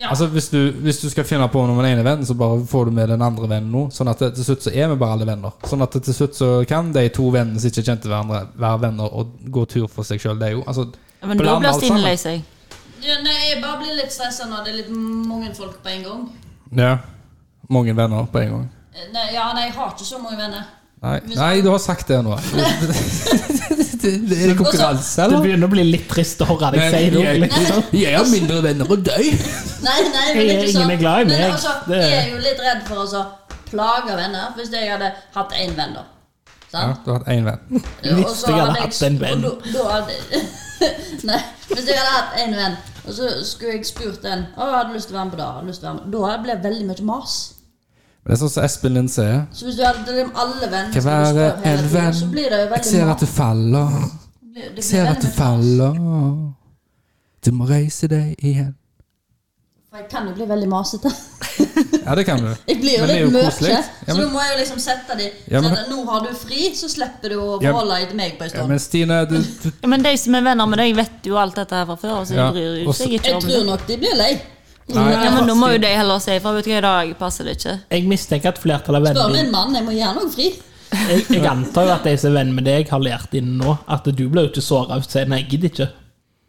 Speaker 3: Ja.
Speaker 1: Altså hvis du, hvis du skal finne på noe med den ene vennen, så bare får du med den andre vennen nå. Sånn at til slutt så er vi bare alle venner. Sånn at til slutt så kan de to vennene som ikke kjente hverandre, være venner og gå tur for seg sjøl, de òg. Altså,
Speaker 4: Ja, men da
Speaker 1: bland
Speaker 4: blir
Speaker 1: alt
Speaker 4: Stine
Speaker 1: sammen.
Speaker 4: lei seg.
Speaker 3: Ja, nei, jeg bare blir litt stressa når det er litt mange folk på en gang.
Speaker 1: Ja. Mange venner på en gang.
Speaker 3: Eh, Nei, ja, nei, jeg har ikke så mange venner.
Speaker 1: Nei, Nei du har sagt det nå. er det konkurranse,
Speaker 2: Det
Speaker 1: eller?
Speaker 2: begynner å bli litt trist å høre deg
Speaker 1: Men
Speaker 2: si det.
Speaker 1: jeg-
Speaker 2: Liksom.
Speaker 1: Jeg har mindre venner enn deg.
Speaker 3: Nei, nei, men
Speaker 2: Jeg er
Speaker 3: ikke sånn.
Speaker 2: ingen er glad i
Speaker 3: Men
Speaker 2: meg.
Speaker 3: altså,
Speaker 2: Det-
Speaker 3: jeg er jo litt redd for å så plage venner, hvis jeg hadde hatt én venn, da.
Speaker 1: Ja,
Speaker 3: Sant?
Speaker 1: du har hatt én venn.
Speaker 2: Hvis
Speaker 3: Og så
Speaker 2: jeg hadde
Speaker 3: jeg-
Speaker 2: hatt en venn.
Speaker 3: og Da, da hadde, nei, hvis jeg hadde hatt én venn, og så skulle jeg spurt den Å, jeg hadde lyst til å være med på det. hadde lyst til å være med. Da hadde det blitt veldig mye mas.
Speaker 1: Men det er sånn som Espen Lind sier.
Speaker 3: Så hvis du hadde liksom alle venner
Speaker 1: Kan
Speaker 3: som du
Speaker 1: være
Speaker 3: spør hele
Speaker 1: en
Speaker 3: tiden, så
Speaker 1: venn.
Speaker 3: blir det jo
Speaker 1: Jeg ser
Speaker 3: veldig
Speaker 1: at
Speaker 3: mas.
Speaker 1: du faller.
Speaker 3: Det blir- det blir
Speaker 1: Jeg ser at du
Speaker 3: veldig mye mas.
Speaker 1: faller. Du må reise deg igjen.
Speaker 3: For jeg kan jo bli veldig masete.
Speaker 1: Ja, det kan du.
Speaker 3: Jeg blir jo
Speaker 1: Men det er
Speaker 3: litt
Speaker 1: jo
Speaker 3: mørke.
Speaker 1: koselig. Ja,
Speaker 3: så
Speaker 1: men-
Speaker 3: da må jeg jo liksom sette de
Speaker 1: Ja, men-
Speaker 3: sånn at Nå har du fri, så slipper du å
Speaker 1: Ja, men-
Speaker 3: forholde deg til meg på en
Speaker 1: Ja,
Speaker 3: stund.
Speaker 1: men Stine, du, du
Speaker 4: Ja, men de som er venner med deg, vet jo alt dette her fra før. Så de
Speaker 1: Ja,
Speaker 4: bryr jo
Speaker 1: og så-
Speaker 4: seg ikke
Speaker 3: Jeg
Speaker 4: om
Speaker 3: tror
Speaker 4: det.
Speaker 3: nok de blir lei.
Speaker 1: Nei.
Speaker 4: Ja, men da må jo de heller si ifra. Vet du hva, i dag passer det ikke.
Speaker 2: Jeg mistenker at flertallet av
Speaker 3: Spør
Speaker 2: vennene
Speaker 3: min
Speaker 2: dine
Speaker 3: mann, jeg må gjerne noe fri.
Speaker 2: jeg, jeg antar jo at de som er venn med deg, har lært inn nå at du blir jo ikke såra ut. Sier nei, jeg gidder ikke.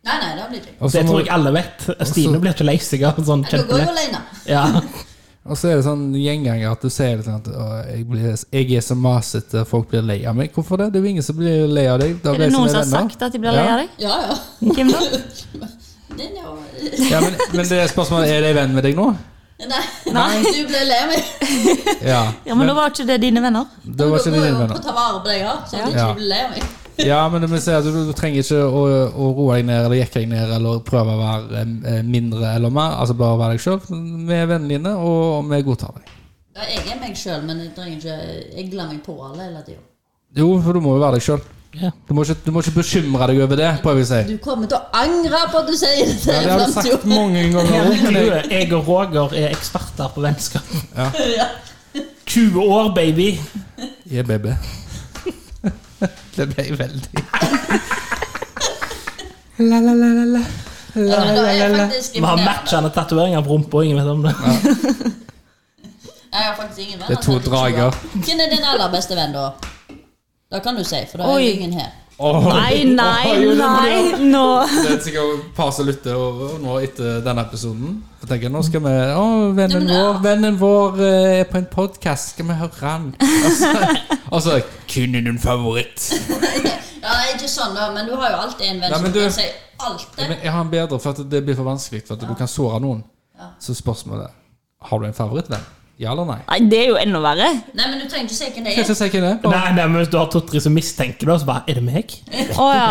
Speaker 3: Nei, nei, det blir ikke.
Speaker 1: Og så
Speaker 2: Det
Speaker 1: må-
Speaker 2: tror jeg alle vet. Stine blir ikke lei seg av sånn
Speaker 3: Da går
Speaker 2: kjempelett.
Speaker 3: jeg alene.
Speaker 2: Ja.
Speaker 1: Og så er det sånn gjenganger at du sier det sånn at «Å, jeg, blir, 'Jeg er så masete, folk blir lei av meg'. Hvorfor det? Det er jo ingen som blir lei av deg. Det
Speaker 4: Er det noen som har sagt at de blir lei av deg?
Speaker 3: Ja, ja.
Speaker 4: Hvem da?
Speaker 3: Den er jo
Speaker 1: Ja, men, men det er spørsmålet er de venn med deg nå?
Speaker 3: Nei, du blir lei av meg.
Speaker 1: Ja,
Speaker 4: Ja, men da var ikke det dine venner.
Speaker 1: det var ikke
Speaker 3: Da må
Speaker 1: dine
Speaker 3: jeg jo
Speaker 1: venner.
Speaker 3: ta vare på deg òg, så at du
Speaker 1: Ja.
Speaker 3: ikke blir lei av meg.
Speaker 1: Ja, men det vil si at du, du trenger ikke å, å roe deg ned eller jekke deg ned eller prøve å være eh, mindre eller mer. Altså bare være deg sjøl. Vi er vennene dine, og vi godtar deg.
Speaker 3: Ja, jeg er meg sjøl, men jeg trenger ikke egle meg på alle hele tida.
Speaker 1: Jo, for du må jo være deg sjøl.
Speaker 2: Ja.
Speaker 1: Du, må ikke- du må ikke bekymre deg over det, prøver jeg å si.
Speaker 3: Du kommer til å angre på at du sier det
Speaker 1: Ja,
Speaker 3: til
Speaker 1: det har du
Speaker 3: fremtiden.
Speaker 1: sagt mange ganger.
Speaker 2: Jeg
Speaker 1: men jeg-
Speaker 2: tror Jeg og Roger er eksperter på vennskap.
Speaker 3: Ja.
Speaker 2: 20 år, baby!
Speaker 1: Jeg er baby. det ble veldig La, la, la, la, la.
Speaker 3: Ja, men da er jeg faktisk
Speaker 2: Vi har
Speaker 3: imponert.
Speaker 2: matchende tatoveringer på rumpa, ingen vet om det.
Speaker 3: Jeg har faktisk ingen venner.
Speaker 1: Det er to
Speaker 3: som ikke
Speaker 1: drager.
Speaker 3: har- Hvem er din aller beste venn, da? Da kan du si, for da er
Speaker 4: Oi.
Speaker 3: jo ingen her.
Speaker 4: Nei, nei, nei, nå.
Speaker 1: Det er sikkert et par som lytter og- og nå etter denne episoden. Så tenker jeg, nå skal vi Å,
Speaker 3: Ja,
Speaker 1: vennen
Speaker 3: men, ja.
Speaker 1: vår vennen vår eh, er på en podkast, skal vi høre han? Og så- Og så Kun din favoritt.
Speaker 3: Ja, nei, ikke sånn, da, men du har jo alltid en venn
Speaker 1: Nei,
Speaker 3: som
Speaker 1: men
Speaker 3: du...
Speaker 1: du-
Speaker 3: kan si alt det.
Speaker 1: Ja, Men jeg har en bedre, for at det blir for vanskelig. For at du kan såre noen. Så spørsmålet er Har du en favorittvenn? Ja eller nei?
Speaker 4: Nei, det er jo enda verre.
Speaker 3: Nei, men du trenger ikke si hvem det
Speaker 1: Skal jeg
Speaker 3: er.
Speaker 1: ikke si hvem det er? Bare
Speaker 2: Nei, nei, men Hvis du har to-tre som mistenker det, så bare Er det meg?
Speaker 4: Å ja.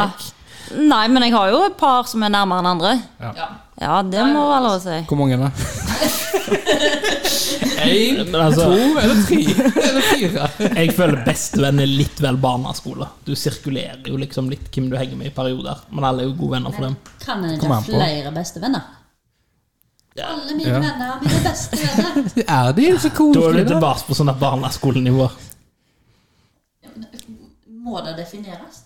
Speaker 4: Nei, men jeg har jo et par som er nærmere enn andre.
Speaker 3: Ja. altså.
Speaker 4: Ja, det må være lov å si.
Speaker 1: Hvor mange er det? Én,
Speaker 2: Men altså-
Speaker 1: to eller tre? Eller fire?
Speaker 2: Jeg føler bestevenn er litt vel barneskole. Du sirkulerer jo liksom litt hvem du henger med i perioder, men alle er jo gode venner for dem.
Speaker 3: Kan en ikke
Speaker 1: Kom
Speaker 3: ha
Speaker 1: an på.
Speaker 3: flere bestevenner? Alle mine
Speaker 1: Ja.
Speaker 3: venner er mine beste venner.
Speaker 1: Er de så
Speaker 2: Da er du
Speaker 1: koselige? da?
Speaker 2: tilbake på sånne barneskolenivå.
Speaker 3: Må det defineres?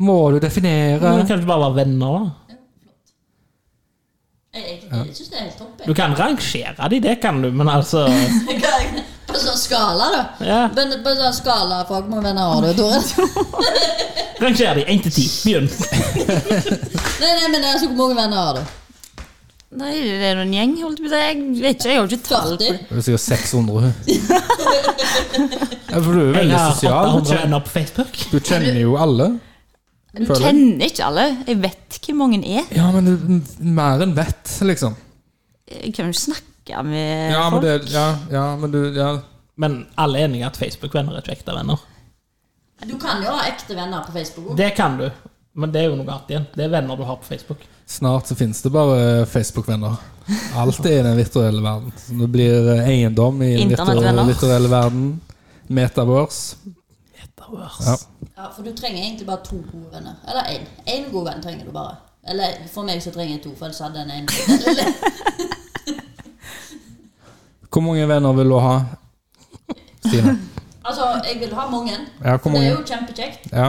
Speaker 1: Må du
Speaker 2: Men
Speaker 1: definere
Speaker 2: Du kan ikke bare være venner, da.
Speaker 3: Jeg, jeg, jeg syns det er helt topp.
Speaker 2: Du
Speaker 3: Jeg.
Speaker 2: kan rangere de, det kan du, men altså
Speaker 3: På sånn skala, da.
Speaker 2: ja.
Speaker 3: Men på sånn skala for hvor mange venner har du, Tore?
Speaker 2: Ranger de én til ti. Begynn.
Speaker 3: Nei, nei, men altså, hvor mange venner har du?
Speaker 4: Nei, det er noen gjeng, holdt jeg på å si. Jeg vet ikke, jeg har ikke tall på
Speaker 3: 40?
Speaker 4: det.
Speaker 1: Det er sikkert 600. Ja, for du er jo
Speaker 2: Jeg
Speaker 1: veldig
Speaker 2: har
Speaker 1: sosial. Du
Speaker 2: 800
Speaker 1: kjenner,
Speaker 2: venner på Facebook.
Speaker 1: du kjenner jo alle.
Speaker 4: Du
Speaker 1: Føler.
Speaker 4: kjenner ikke alle. Jeg vet hvor mange er.
Speaker 1: Ja, men du, mer enn vett, liksom.
Speaker 4: Jeg kan jo ikke snakke med
Speaker 1: Ja, men
Speaker 4: folk.
Speaker 1: det Ja, ja men du ja.
Speaker 2: Men alle er enige at Facebook-venner er ikke ekte venner.
Speaker 3: Du kan jo ha ekte venner på Facebook.
Speaker 2: Det kan du, men det er jo noe annet igjen. Det er venner du har på Facebook.
Speaker 1: Snart så finnes det bare Facebook-venner. Alt er i den virtuelle verden. Så Det blir eh, eiendom i den virtuelle,
Speaker 4: Internettvenner.
Speaker 1: virtuelle verden. Metabors. Ja.
Speaker 3: Ja, For du trenger egentlig bare to gode venner. Eller én. Én god venn trenger du bare. Eller for meg så trenger jeg to, for ellers hadde jeg en ene.
Speaker 1: Hvor mange venner vil du ha? Stine.
Speaker 3: Altså, jeg vil ha mange.
Speaker 1: Ja, hvor
Speaker 3: For det er
Speaker 1: mange?
Speaker 3: jo kjempekjekt.
Speaker 1: Ja.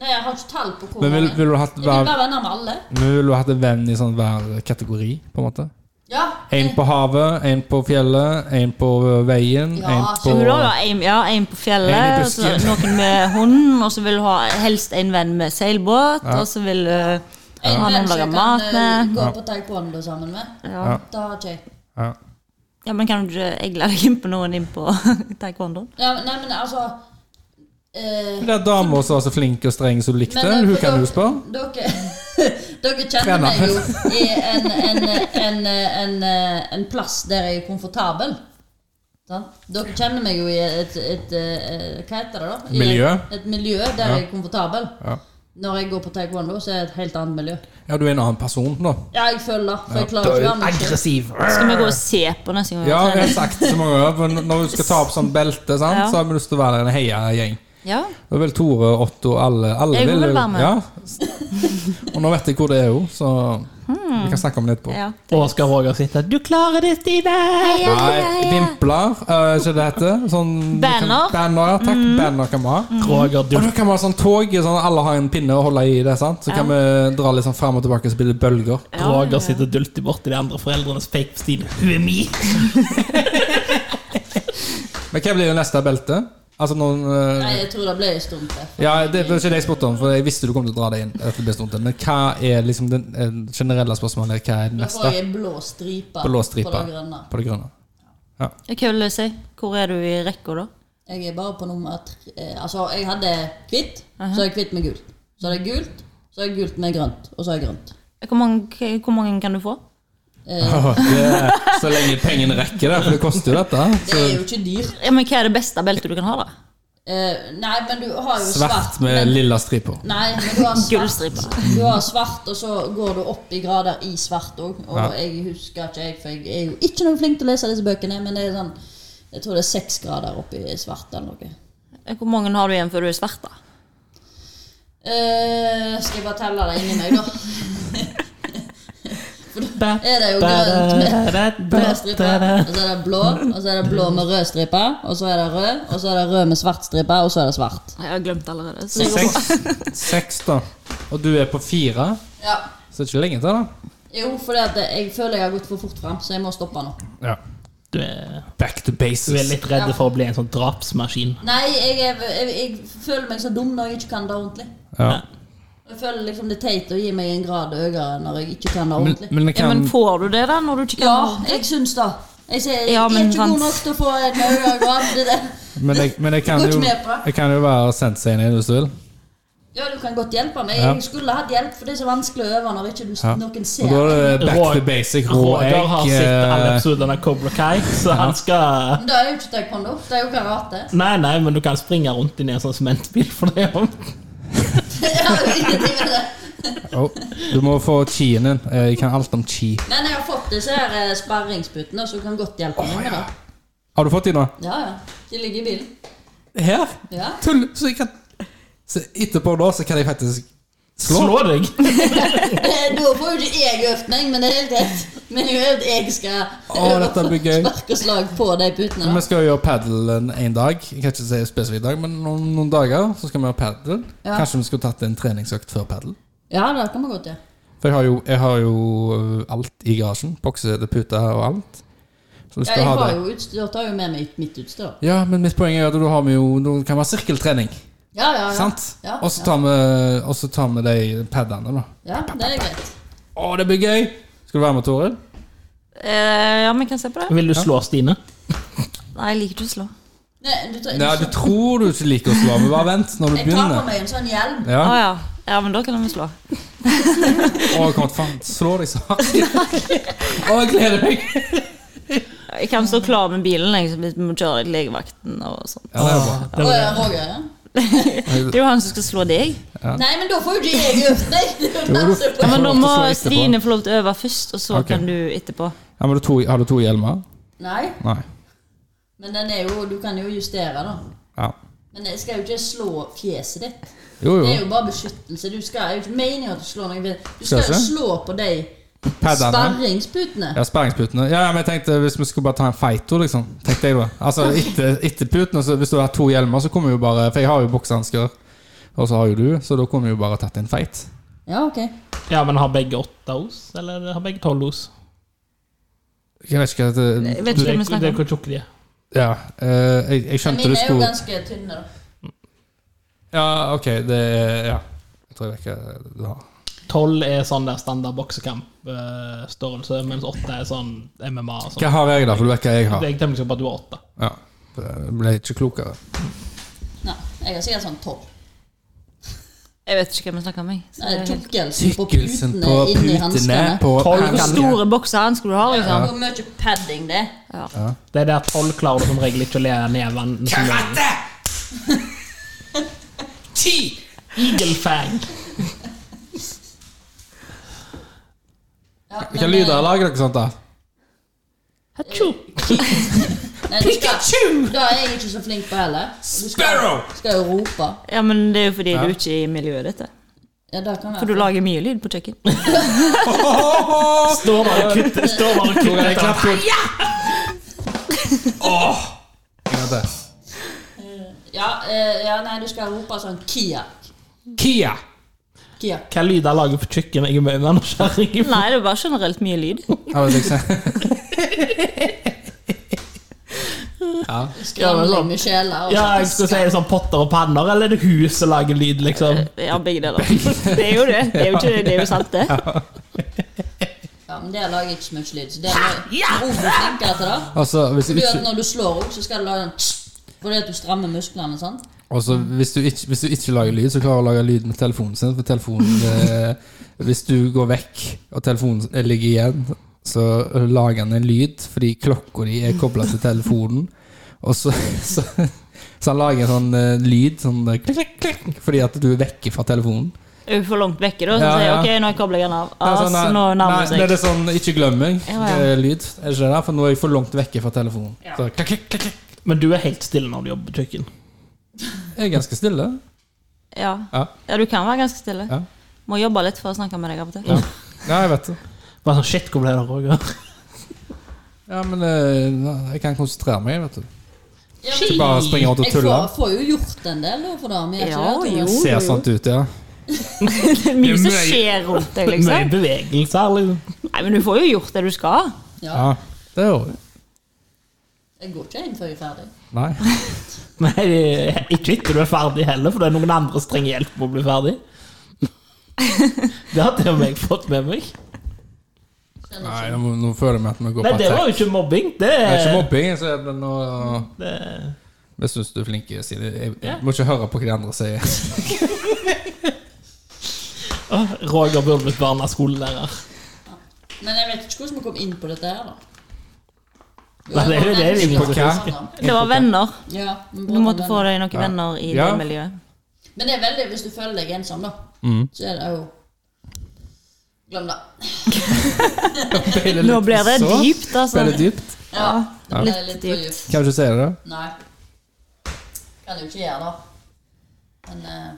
Speaker 3: Nei, jeg har ikke tall på hvor
Speaker 1: Men vil,
Speaker 3: mange.
Speaker 1: vil du ha hatt
Speaker 3: Jeg vil
Speaker 1: hver,
Speaker 3: være venner med alle.
Speaker 1: men vil du ha hatt en venn i sånn hver kategori, på en måte?
Speaker 3: Ja, Ja.
Speaker 1: En på havet, en på fjellet, en på ø, veien,
Speaker 3: Ja,
Speaker 1: en
Speaker 3: så
Speaker 1: på
Speaker 4: Hun vil også ha en, ja, en på
Speaker 1: En i
Speaker 4: fjellet, og så
Speaker 1: busken.
Speaker 4: noen med hund, og så vil hun ha helst en venn med seilbåt, og så vil hun
Speaker 3: En
Speaker 4: ha noen
Speaker 3: venn
Speaker 4: å
Speaker 3: som
Speaker 4: lage
Speaker 3: jeg kan
Speaker 4: mat
Speaker 3: eh,
Speaker 4: med.
Speaker 3: gå på taekwondo sammen med.
Speaker 4: Ja.
Speaker 1: Ja.
Speaker 3: Det har ikke jeg.
Speaker 1: ja.
Speaker 4: ja, men kan du ikke egle deg inn på noen inn på taekwondo?
Speaker 3: Ja, men- nei, men altså eh,
Speaker 1: Den dama som var så flink og streng som du likte,
Speaker 3: Men, eh,
Speaker 1: hun
Speaker 3: for
Speaker 1: kan du
Speaker 3: dere-
Speaker 1: spørre.
Speaker 3: Dere, dere kjenner
Speaker 1: Trener.
Speaker 3: meg jo i en, en, en, en, eh, en plass der jeg er komfortabel. Sant? Dere kjenner meg jo i et, et, eh, Hva heter det, da? I
Speaker 1: Miljø.
Speaker 3: Et, et miljø der jeg er komfortabel.
Speaker 1: Ja.
Speaker 3: Når jeg går på taekwondo, så er det et helt annet miljø.
Speaker 1: ja, du er en annen person nå.
Speaker 3: Ja, jeg føler det. For jeg klarer ikke å være meg selv.
Speaker 2: Aggressiv.
Speaker 4: Skal vi gå og se på neste gang vi
Speaker 1: Ja,
Speaker 4: har
Speaker 1: jeg har
Speaker 4: trening?
Speaker 1: sagt så mange ganger for Når du skal ta opp sånn belte, sant,
Speaker 4: Ja.
Speaker 1: så har vi lyst til å være en heiagjeng.
Speaker 4: Ja.
Speaker 1: Det er vel Tore, Otto, alle, alle
Speaker 4: Jeg vil
Speaker 1: jo-
Speaker 4: være med.
Speaker 1: Ja. Og nå vet jeg hvor det er, jo, så vi kan snakke om det etterpå.
Speaker 4: Hmm. ja.
Speaker 2: Og skal Roger sitte Du klarer det, Stine!
Speaker 4: Heia, heia,
Speaker 1: Nei,
Speaker 4: heia.
Speaker 1: vimpler, uh, ikke det heter. Sånn,
Speaker 4: Banner. Hmm.
Speaker 1: banner ja, takk. Banner kan vi ha.
Speaker 2: Roger, du
Speaker 1: Og da kan vi ha sånn tog, sånn at alle har en pinne å holde i det, sant? Så kan vi dra litt sånn frem og tilbake og spille bølger.
Speaker 2: Roger sitter og dulter borti de andre foreldrenes peik på Stine. Hun er min!
Speaker 1: Men hva blir det neste belte? Altså noen... eh,
Speaker 3: Nei, jeg tror det ble en stund til.
Speaker 1: ja, det var ikke det jeg spurte om, for jeg visste du kom til å dra deg inn. at det ble stund til. Men hva er liksom den eh, generelle spørsmålet? Hva er det
Speaker 3: Da får
Speaker 1: neste
Speaker 3: jeg en blå stripe
Speaker 1: Blå stripe.
Speaker 3: på det grønne.
Speaker 1: på det grønne?
Speaker 4: Hva vil du si? Hvor er du i rekka da?
Speaker 3: Jeg er bare på nummer tre eh, Altså, jeg hadde hvitt, så er jeg hvitt med gult. Så er det gult, så er det gult med grønt, og så er det grønt.
Speaker 4: Hvor mange, hvor mange kan du få?
Speaker 1: Åh, det, så lenge pengene rekker det, for det koster jo dette.
Speaker 3: Det
Speaker 1: Så
Speaker 3: er jo ikke dyrt.
Speaker 4: Ja, men Hva er det beste beltet du kan ha, da?
Speaker 3: Eh, nei, men du har jo svart.
Speaker 1: svart med
Speaker 3: men,
Speaker 1: lilla striper.
Speaker 3: Nei, men du har svart.
Speaker 4: Gullstripe.
Speaker 3: Du har svart, og så går du opp i grader i svart òg. Og
Speaker 1: Ja.
Speaker 3: jeg husker ikke, jeg, for jeg er jo ikke noe flink til å lese disse bøkene, men det er sånn Jeg tror det er seks grader opp i svart eller noe.
Speaker 4: Hvor mange har du igjen før du er svart? da?
Speaker 3: Eh, skal jeg bare telle det inni meg, da? Er det jo grønt med Blå stripe, og så er det blå, og så er det blå med rød stripe, og så er det rød, og så er det rød med svart stripe, og så er det svart.
Speaker 4: Jeg har glemt allerede. Så jeg
Speaker 1: Seks, seks, da. Og du er på fire,
Speaker 3: Ja.
Speaker 1: så det er ikke lenge til, da.
Speaker 3: Jo, fordi at jeg føler jeg har gått for fort fram, så jeg må stoppe nå.
Speaker 1: Ja.
Speaker 2: Du er,
Speaker 1: Back to
Speaker 2: du er
Speaker 1: basis.
Speaker 2: litt redd for å bli en sånn drapsmaskin.
Speaker 3: Nei, jeg, er, jeg, jeg føler meg så dum når jeg ikke kan det ordentlig.
Speaker 1: Ja.
Speaker 3: Jeg føler liksom det er teit å gi meg en grad høyere når jeg ikke kan det
Speaker 1: Men,
Speaker 3: ordentlig.
Speaker 1: men det
Speaker 4: Ja,
Speaker 1: kan
Speaker 4: men Får du det da når du ikke kan
Speaker 3: Ja,
Speaker 4: ha det?
Speaker 3: jeg syns det. Jeg sier jeg
Speaker 4: Ja,
Speaker 3: er
Speaker 4: men
Speaker 3: ikke god
Speaker 4: sant.
Speaker 3: nok til å få en høyere grad. Det er det.
Speaker 1: Men jeg, men jeg, kan,
Speaker 3: Går ikke
Speaker 1: jo,
Speaker 3: med på det.
Speaker 1: jeg kan jo være senseien din hvis du vil.
Speaker 3: Ja, du kan godt hjelpe meg.
Speaker 1: Ja.
Speaker 3: Jeg skulle hatt hjelp, for det er så vanskelig å øve når ikke du,
Speaker 1: Ja.
Speaker 3: noen
Speaker 1: Og
Speaker 3: ser.
Speaker 1: da er det back to
Speaker 2: Roger-
Speaker 1: basic, rå
Speaker 2: Roger har
Speaker 1: egg
Speaker 2: sett alle
Speaker 1: eh,
Speaker 2: episodene av Cobra Kai, så han skal
Speaker 3: Men det er jo ikke taekwondo, det er jo karate.
Speaker 2: Nei, nei, men du kan springe rundt inn i en sånn sementbil for det. om-
Speaker 3: Jeg har jo ingenting med det.
Speaker 1: oh, Du må få chi-en din. Eh, Jeg kan alt om chi.
Speaker 3: Men jeg har fått disse her eh, sparringsputene, som kan godt hjelpe meg med det.
Speaker 1: Har du fått de nå?
Speaker 3: Ja, ja. De ligger i bilen.
Speaker 1: Her?
Speaker 3: Ja.
Speaker 1: Tull! Så jeg kan så etterpå da, så kan jeg faktisk slå.
Speaker 2: Slå deg!
Speaker 3: Eh, Da får jo ikke jeg øvd meg, men det er helt greit. Men jeg vet jeg skal
Speaker 1: Å, dette blir gøy.
Speaker 3: sparke slag på de putene.
Speaker 1: Vi
Speaker 3: Da.
Speaker 1: skal jo gjøre padelen en dag. Jeg kan ikke si spesifikk dag, men noen, noen dager så skal vi gjøre padel.
Speaker 3: Ja.
Speaker 1: Kanskje vi skulle tatt en treningsøkt før padel.
Speaker 3: Ja, det kan man godt gjøre.
Speaker 1: For jeg har jo, jeg har jo øh, alt i garasjen. Bokse, puter og alt. Så du
Speaker 3: Ja,
Speaker 1: skal
Speaker 3: jeg
Speaker 1: ha
Speaker 3: har
Speaker 1: det.
Speaker 3: jo utstyr, jeg tar jo med meg mitt utstyr. da.
Speaker 1: Ja, men mitt poeng er at da har vi jo Da kan vi ha sirkeltrening.
Speaker 3: Ja, ja, ja.
Speaker 1: Sant?
Speaker 3: Ja,
Speaker 1: Og så tar vi- og så tar vi de padene, da.
Speaker 3: ja, det er greit.
Speaker 1: Å, det blir gøy! Skal du være med, Toril?
Speaker 4: Eh, ja, men kan jeg se på det?
Speaker 2: Vil du slå Stine?
Speaker 4: Nei, jeg liker ikke å slå.
Speaker 3: Nei, du tar,
Speaker 1: Nei, du tror du ikke liker å slå, men bare vent når du
Speaker 3: jeg tar på
Speaker 1: begynner.
Speaker 3: meg en sånn hjelm.
Speaker 4: Å
Speaker 1: Ja.
Speaker 4: ja. ja, men da kan vi slå.
Speaker 1: Å, kom, faen, slå deg så hardt. Å, jeg gleder meg!
Speaker 4: Jeg kan stå klar med bilen liksom, hvis vi må kjøre deg til legevakten og sånn.
Speaker 1: Ja, det er bra.
Speaker 2: Det
Speaker 3: Å,
Speaker 2: var-
Speaker 3: ja, Roger, ja.
Speaker 4: Det er jo han som skal slå deg.
Speaker 3: Nei, men da får jo ikke jeg øvd meg. Det er jo det som er
Speaker 4: Ja, men
Speaker 1: får
Speaker 4: da
Speaker 1: lov til å
Speaker 4: må
Speaker 1: slå etterpå.
Speaker 4: Stine få lov til å øve først, og så
Speaker 1: Ok.
Speaker 4: kan du etterpå.
Speaker 1: Ja, men du to, har du to hjelmer?
Speaker 3: på- Nei,
Speaker 1: Nei.
Speaker 3: men den er jo, du kan jo justere, da.
Speaker 1: Ja.
Speaker 3: Men jeg skal jo ikke slå fjeset ditt.
Speaker 1: Jo,
Speaker 3: Det er
Speaker 1: jo.
Speaker 3: jo bare beskyttelse. Du skal, jeg er jo ikke meningen at du slår noen ved- Du skal
Speaker 1: Skal
Speaker 3: jo
Speaker 1: jeg se?
Speaker 3: slå på de
Speaker 1: Paddene.
Speaker 3: sparringsputene.
Speaker 1: Ja, sperringsputene. Ja, ja, men jeg tenkte hvis vi skulle bare ta en fight, da, liksom. Tenkte jeg da. Altså, etter, etter putene, så hvis du har to hjelmer, så kommer jo bare For jeg har jo boksehansker, og så har jo du, så da kunne vi jo bare tatt en fight.
Speaker 3: Ja, ok.
Speaker 2: Ja, men har begge åtte os? Eller har begge tolv os?
Speaker 1: Jeg vet ikke hva det
Speaker 4: Jeg vet
Speaker 2: Det
Speaker 4: ikke hva vi
Speaker 2: er det
Speaker 4: snakker
Speaker 2: er
Speaker 4: om.
Speaker 2: hvor tjukke de er.
Speaker 1: Ja. eh, jeg, jeg skjønte du
Speaker 3: Mine er jo
Speaker 1: skulle
Speaker 3: ganske tynne, da.
Speaker 1: Ja, OK, det er Ja. Jeg tror jeg vet hva du har.
Speaker 2: 12 er sånn der standard boksekamp-størrelse, mens 8 er sånn MMA. og Sånn.
Speaker 1: Hva har jeg, da? For du vet hva jeg har.
Speaker 2: Jeg tenker ikke på at du er 8.
Speaker 1: Ja. Jeg ble ikke klokere.
Speaker 3: Nei, jeg er sikkert sånn tolv.
Speaker 4: Jeg vet ikke hva vi snakker om. jeg. Så
Speaker 3: Nei,
Speaker 4: det er helt-
Speaker 3: Tykkelsen på
Speaker 1: Tykkelsen
Speaker 3: putene
Speaker 1: på
Speaker 3: inni
Speaker 1: putene
Speaker 3: hanskene.
Speaker 1: på
Speaker 2: Tolv
Speaker 4: Hvor store bokser skal du ha?
Speaker 3: Ja.
Speaker 4: liksom?
Speaker 3: Hvor mye padding det er.
Speaker 2: Det er der 12 klarer du som regel ikke å le ned vannet. som regel. Eagle fang.
Speaker 3: Ja,
Speaker 1: Hvilke lyder lager dere sånt, da?
Speaker 2: Hatsjo.
Speaker 3: Pikachu! Det er jeg ikke så flink på heller. Du skal-
Speaker 1: Sparrow!
Speaker 3: Skal jo rope.
Speaker 4: Ja, men det er jo fordi
Speaker 1: Ja.
Speaker 4: du ikke er i miljøet dette.
Speaker 3: Ja, det kan
Speaker 4: For du
Speaker 3: være.
Speaker 4: lager mye lyd på kjøkken.
Speaker 2: Står der og kutter. Står der og
Speaker 1: Hvor er
Speaker 2: kutter.
Speaker 1: det
Speaker 2: etter
Speaker 1: klapp? Ja! Åh! En gang til.
Speaker 3: Ja, eh, ja, nei, du skal rope sånn Kia.
Speaker 2: hvert. Kia.
Speaker 3: Kia.
Speaker 2: Hva lyder lager på kjøkkenet? Jeg er mye mer nysgjerrig. på.
Speaker 4: Nei, det er bare generelt mye lyd.
Speaker 1: Har du et eksempel?
Speaker 3: Skramling med sjeler. og
Speaker 2: Ja, jeg skulle si er det sånn potter og panner, eller er det hus som lager lyd, liksom?
Speaker 4: Ja, begge deler. Det er jo det. Det er jo, ikke, det er jo sant, det.
Speaker 3: Ja, men det lager ikke så mye lyd. Så det er noe du flinkere til det.
Speaker 1: Altså, hvis du
Speaker 3: Fordi at
Speaker 1: ikke,
Speaker 3: når du slår opp, så skal du lage en Fordi at du strammer musklene, sant?
Speaker 1: altså, hvis, du ikke, hvis du ikke lager lyd, så klarer du å lage lyd med telefonen sin. For telefonen eh, Hvis du går vekk, og telefonen eh, ligger igjen, så lager den en lyd fordi klokka di er kobla til telefonen. Og så, så, så han lager en sånn eh, lyd sånn eh, klikk, klikk, klikk, fordi at du er vekke fra telefonen.
Speaker 4: Er jo for langt vekke, da. Så
Speaker 1: Ja,
Speaker 4: sier jeg
Speaker 1: ja.
Speaker 4: ok, nå kobler jeg den av.
Speaker 1: Ja,
Speaker 4: Ah,
Speaker 1: sånn,
Speaker 4: så
Speaker 1: nei,
Speaker 4: nå nærmer
Speaker 1: nei, det
Speaker 4: det
Speaker 1: er sånn ikke glem
Speaker 4: Ja, ja.
Speaker 1: meg-lyd. Er det ikke det? For nå er jeg for langt vekke fra telefonen. Så, klikk, klikk, klikk, klikk.
Speaker 2: Men du er helt stille når du jobber på kjøkken.
Speaker 1: Jeg er ganske stille.
Speaker 4: seg. Ja.
Speaker 1: Ja.
Speaker 4: ja, du kan være ganske stille.
Speaker 1: Ja.
Speaker 4: Må jobbe litt for å snakke med deg av og til.
Speaker 1: Ja. ja, jeg vet det.
Speaker 2: Bare sånn, shit, hvor ble det av Roger?
Speaker 1: Ja, men eh, jeg kan konsentrere meg, vet du.
Speaker 3: Ja,
Speaker 1: Ikke bare springe rundt og
Speaker 3: jeg
Speaker 1: tulle.
Speaker 3: får, får jo gjort en del, da, for det. men jeg
Speaker 4: Ja,
Speaker 3: er ikke det, tror jeg.
Speaker 4: jo.
Speaker 1: Ser sant ut, ja.
Speaker 4: Det er mye som
Speaker 2: mye-
Speaker 4: skjer rundt deg,
Speaker 2: Mye
Speaker 4: liksom.
Speaker 2: bevegelser, liksom.
Speaker 4: Nei, men du får jo gjort det du skal.
Speaker 3: Ja.
Speaker 1: ja. Det gjorde vi.
Speaker 3: Jeg går ikke inn før jeg er ferdig.
Speaker 1: Nei.
Speaker 2: Nei, ikke etter du er ferdig heller, for det er noen andre som trenger hjelp med å bli ferdig. Det har til og med jeg fått med meg.
Speaker 3: Skjønner
Speaker 1: Nei,
Speaker 3: ikke.
Speaker 1: nå, nå føler jeg meg at vi går
Speaker 2: Nei,
Speaker 1: på
Speaker 2: det var
Speaker 1: attack.
Speaker 2: jo eh, ikke mobbing. Det,
Speaker 1: Det er ikke mobbing. Så er det noe...
Speaker 2: det
Speaker 1: Jeg syns du er flink. Silje. Jeg, jeg må ikke høre på hva de andre sier.
Speaker 2: Åh, Roger burde blitt barneskolelærer.
Speaker 3: Men jeg vet ikke hvordan vi kom inn på dette her, da. Jo,
Speaker 2: Nei, det er jo det vi
Speaker 1: på hva?
Speaker 4: Det var venner.
Speaker 3: Ja, men
Speaker 4: Du måtte få
Speaker 3: det.
Speaker 4: deg noen venner i det
Speaker 1: Ja.
Speaker 4: miljøet.
Speaker 3: Men det er veldig hvis du føler deg ensom, da. Så er det jo Glem det.
Speaker 4: Nå blir det
Speaker 1: Så?
Speaker 4: dypt, altså.
Speaker 1: Ble det dypt?
Speaker 3: Ja, det ble
Speaker 4: Litt
Speaker 3: litt for
Speaker 4: dypt.
Speaker 3: dypt.
Speaker 1: Kan du ikke si det? da?
Speaker 3: Nei. Kan du ikke gjøre det. Men eh,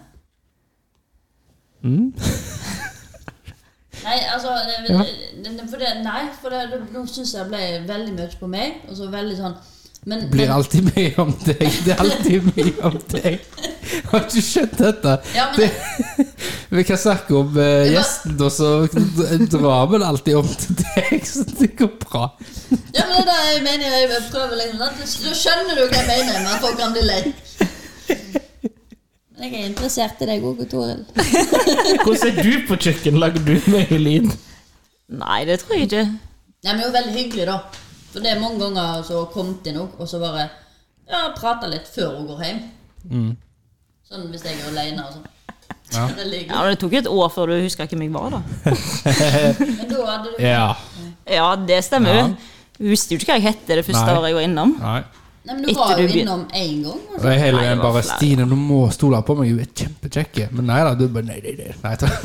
Speaker 3: Nei, altså det, det, det, for det, Nei, for det, det, nå syns jeg det ble veldig mye på meg. Og så veldig sånn men,
Speaker 1: Det blir alltid mye om deg. Det er alltid mye om deg. Har ikke skjønt dette?
Speaker 3: Ja, men-
Speaker 1: det, vi kan snakke om eh, gjesten, og så drar vi det alltid om til deg, så det går bra.
Speaker 3: Ja, men det er det jeg mener. Jeg prøver liksom at du- Da skjønner du hva jeg mener med at folk kan bli lei. Men jeg er interessert i deg òg, Toril.
Speaker 2: Hvordan er du på kjøkken? Lager du mye lyd?
Speaker 4: Nei, det tror jeg ikke.
Speaker 3: Nei, men det er jo veldig hyggelig, da. For det er mange ganger så har hun kommet inn og og så bare ja, prata litt før hun går hjem. Sånn hvis jeg er aleine og sånn.
Speaker 1: Mm. Ja.
Speaker 3: Veldig hyggelig.
Speaker 4: Ja, men Det tok et år før du huska hvem jeg var, da.
Speaker 3: Men da hadde du
Speaker 1: Ja.
Speaker 4: Ja, det stemmer
Speaker 1: Ja.
Speaker 4: jo. Hun visste jo ikke hva jeg het det første
Speaker 1: Nei.
Speaker 4: året jeg var innom.
Speaker 1: Nei.
Speaker 3: Nei, men du
Speaker 4: Etter
Speaker 3: var
Speaker 4: du
Speaker 3: jo
Speaker 4: begyn-
Speaker 3: innom én gang. og
Speaker 1: Det er hele
Speaker 4: Nei, det
Speaker 1: veien
Speaker 4: var
Speaker 1: bare
Speaker 4: flaut.
Speaker 1: 'Stine, du må stole på meg, hun er kjempekjekk'. Men nei da, du bare nei, nei, nei. nei takk.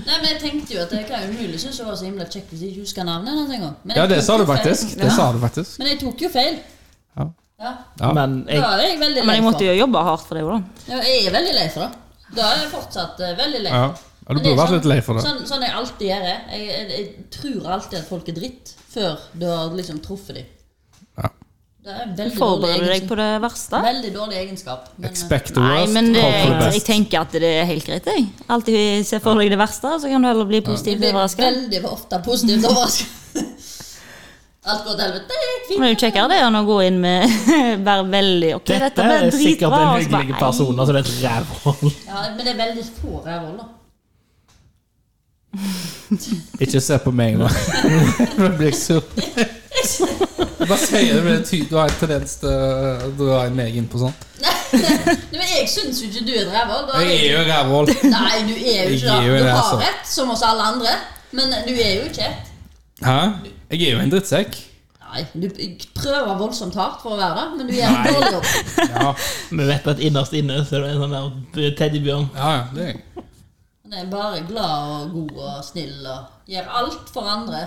Speaker 3: Nei, men jeg tenkte jo at jeg kan jo umulig synes hun var så himla kjekk hvis jeg ikke husker navnet hennes engang. Men
Speaker 1: Ja,
Speaker 3: jeg
Speaker 1: det
Speaker 3: tok
Speaker 1: sa du
Speaker 3: jo feil.
Speaker 1: faktisk. Det sa du faktisk.
Speaker 3: Men jeg tok jo feil.
Speaker 1: Ja.
Speaker 3: Ja.
Speaker 1: Ja.
Speaker 2: Men
Speaker 3: Da
Speaker 2: jeg,
Speaker 3: er sånn. jeg veldig
Speaker 4: Men
Speaker 3: lei
Speaker 4: jeg måtte
Speaker 3: for.
Speaker 4: jo jobbe hardt for det òg, da.
Speaker 3: Ja, jeg er veldig lei for det. Da er jeg fortsatt eh, veldig lei.
Speaker 1: Ja. Ja, du
Speaker 3: Men det er
Speaker 1: burde vært litt lei for det.
Speaker 3: Sånn, sånn jeg alltid gjør. det. Jeg, jeg, jeg tror alltid at folk er dritt, før du har liksom truffet dem.
Speaker 1: Ja.
Speaker 3: Det er en veldig dårlig
Speaker 4: Forbereder du deg
Speaker 3: egenskap.
Speaker 4: på det verste?
Speaker 3: Veldig dårlig egenskap. Men, eh,
Speaker 1: Expect the
Speaker 4: Nei,
Speaker 1: worst,
Speaker 4: men det,
Speaker 1: hope for the
Speaker 4: jeg
Speaker 1: best.
Speaker 4: tenker at det er helt greit, jeg. Alltid se for deg det verste, så kan du heller bli
Speaker 3: jeg
Speaker 4: positivt
Speaker 3: blir
Speaker 4: overraska.
Speaker 3: veldig ofte positivt overrasket. Alt går til helvete.
Speaker 4: Men det er jo kjekkere det enn å gå inn med være veldig ok, dette,
Speaker 2: Dette
Speaker 4: ble
Speaker 2: er sikkert
Speaker 4: dritbra.
Speaker 2: en
Speaker 4: og så bare,
Speaker 2: hyggelig
Speaker 4: «Ei,
Speaker 2: person, altså det er et rævhold.
Speaker 3: Ja, men det er veldig få rævhold, da.
Speaker 1: Ikke se på meg nå. Nå blir jeg sur. Hva sier du? Men det ty- Du har en tendens til å dra meg inn på sånt.
Speaker 3: Nei, men jeg syns jo ikke du er et rævhold. da.
Speaker 1: Jeg er jo rævhål.
Speaker 3: Nei, du er jo
Speaker 1: Jeg
Speaker 3: ikke det.
Speaker 1: er jo
Speaker 3: Du
Speaker 1: det, altså.
Speaker 3: har rett, som oss alle andre, men eh, du er jo ikke et.
Speaker 1: Hæ? Jeg er jo en drittsekk.
Speaker 3: Nei, du prøver voldsomt hardt for å være det, men du gjør en dårlig jobb.
Speaker 1: Ja,
Speaker 2: Vi vet at innerst inne så er det en sånn der teddybjørn.
Speaker 1: ja, ja, det er jeg.
Speaker 3: Han er bare glad og god og snill og gjør alt for andre.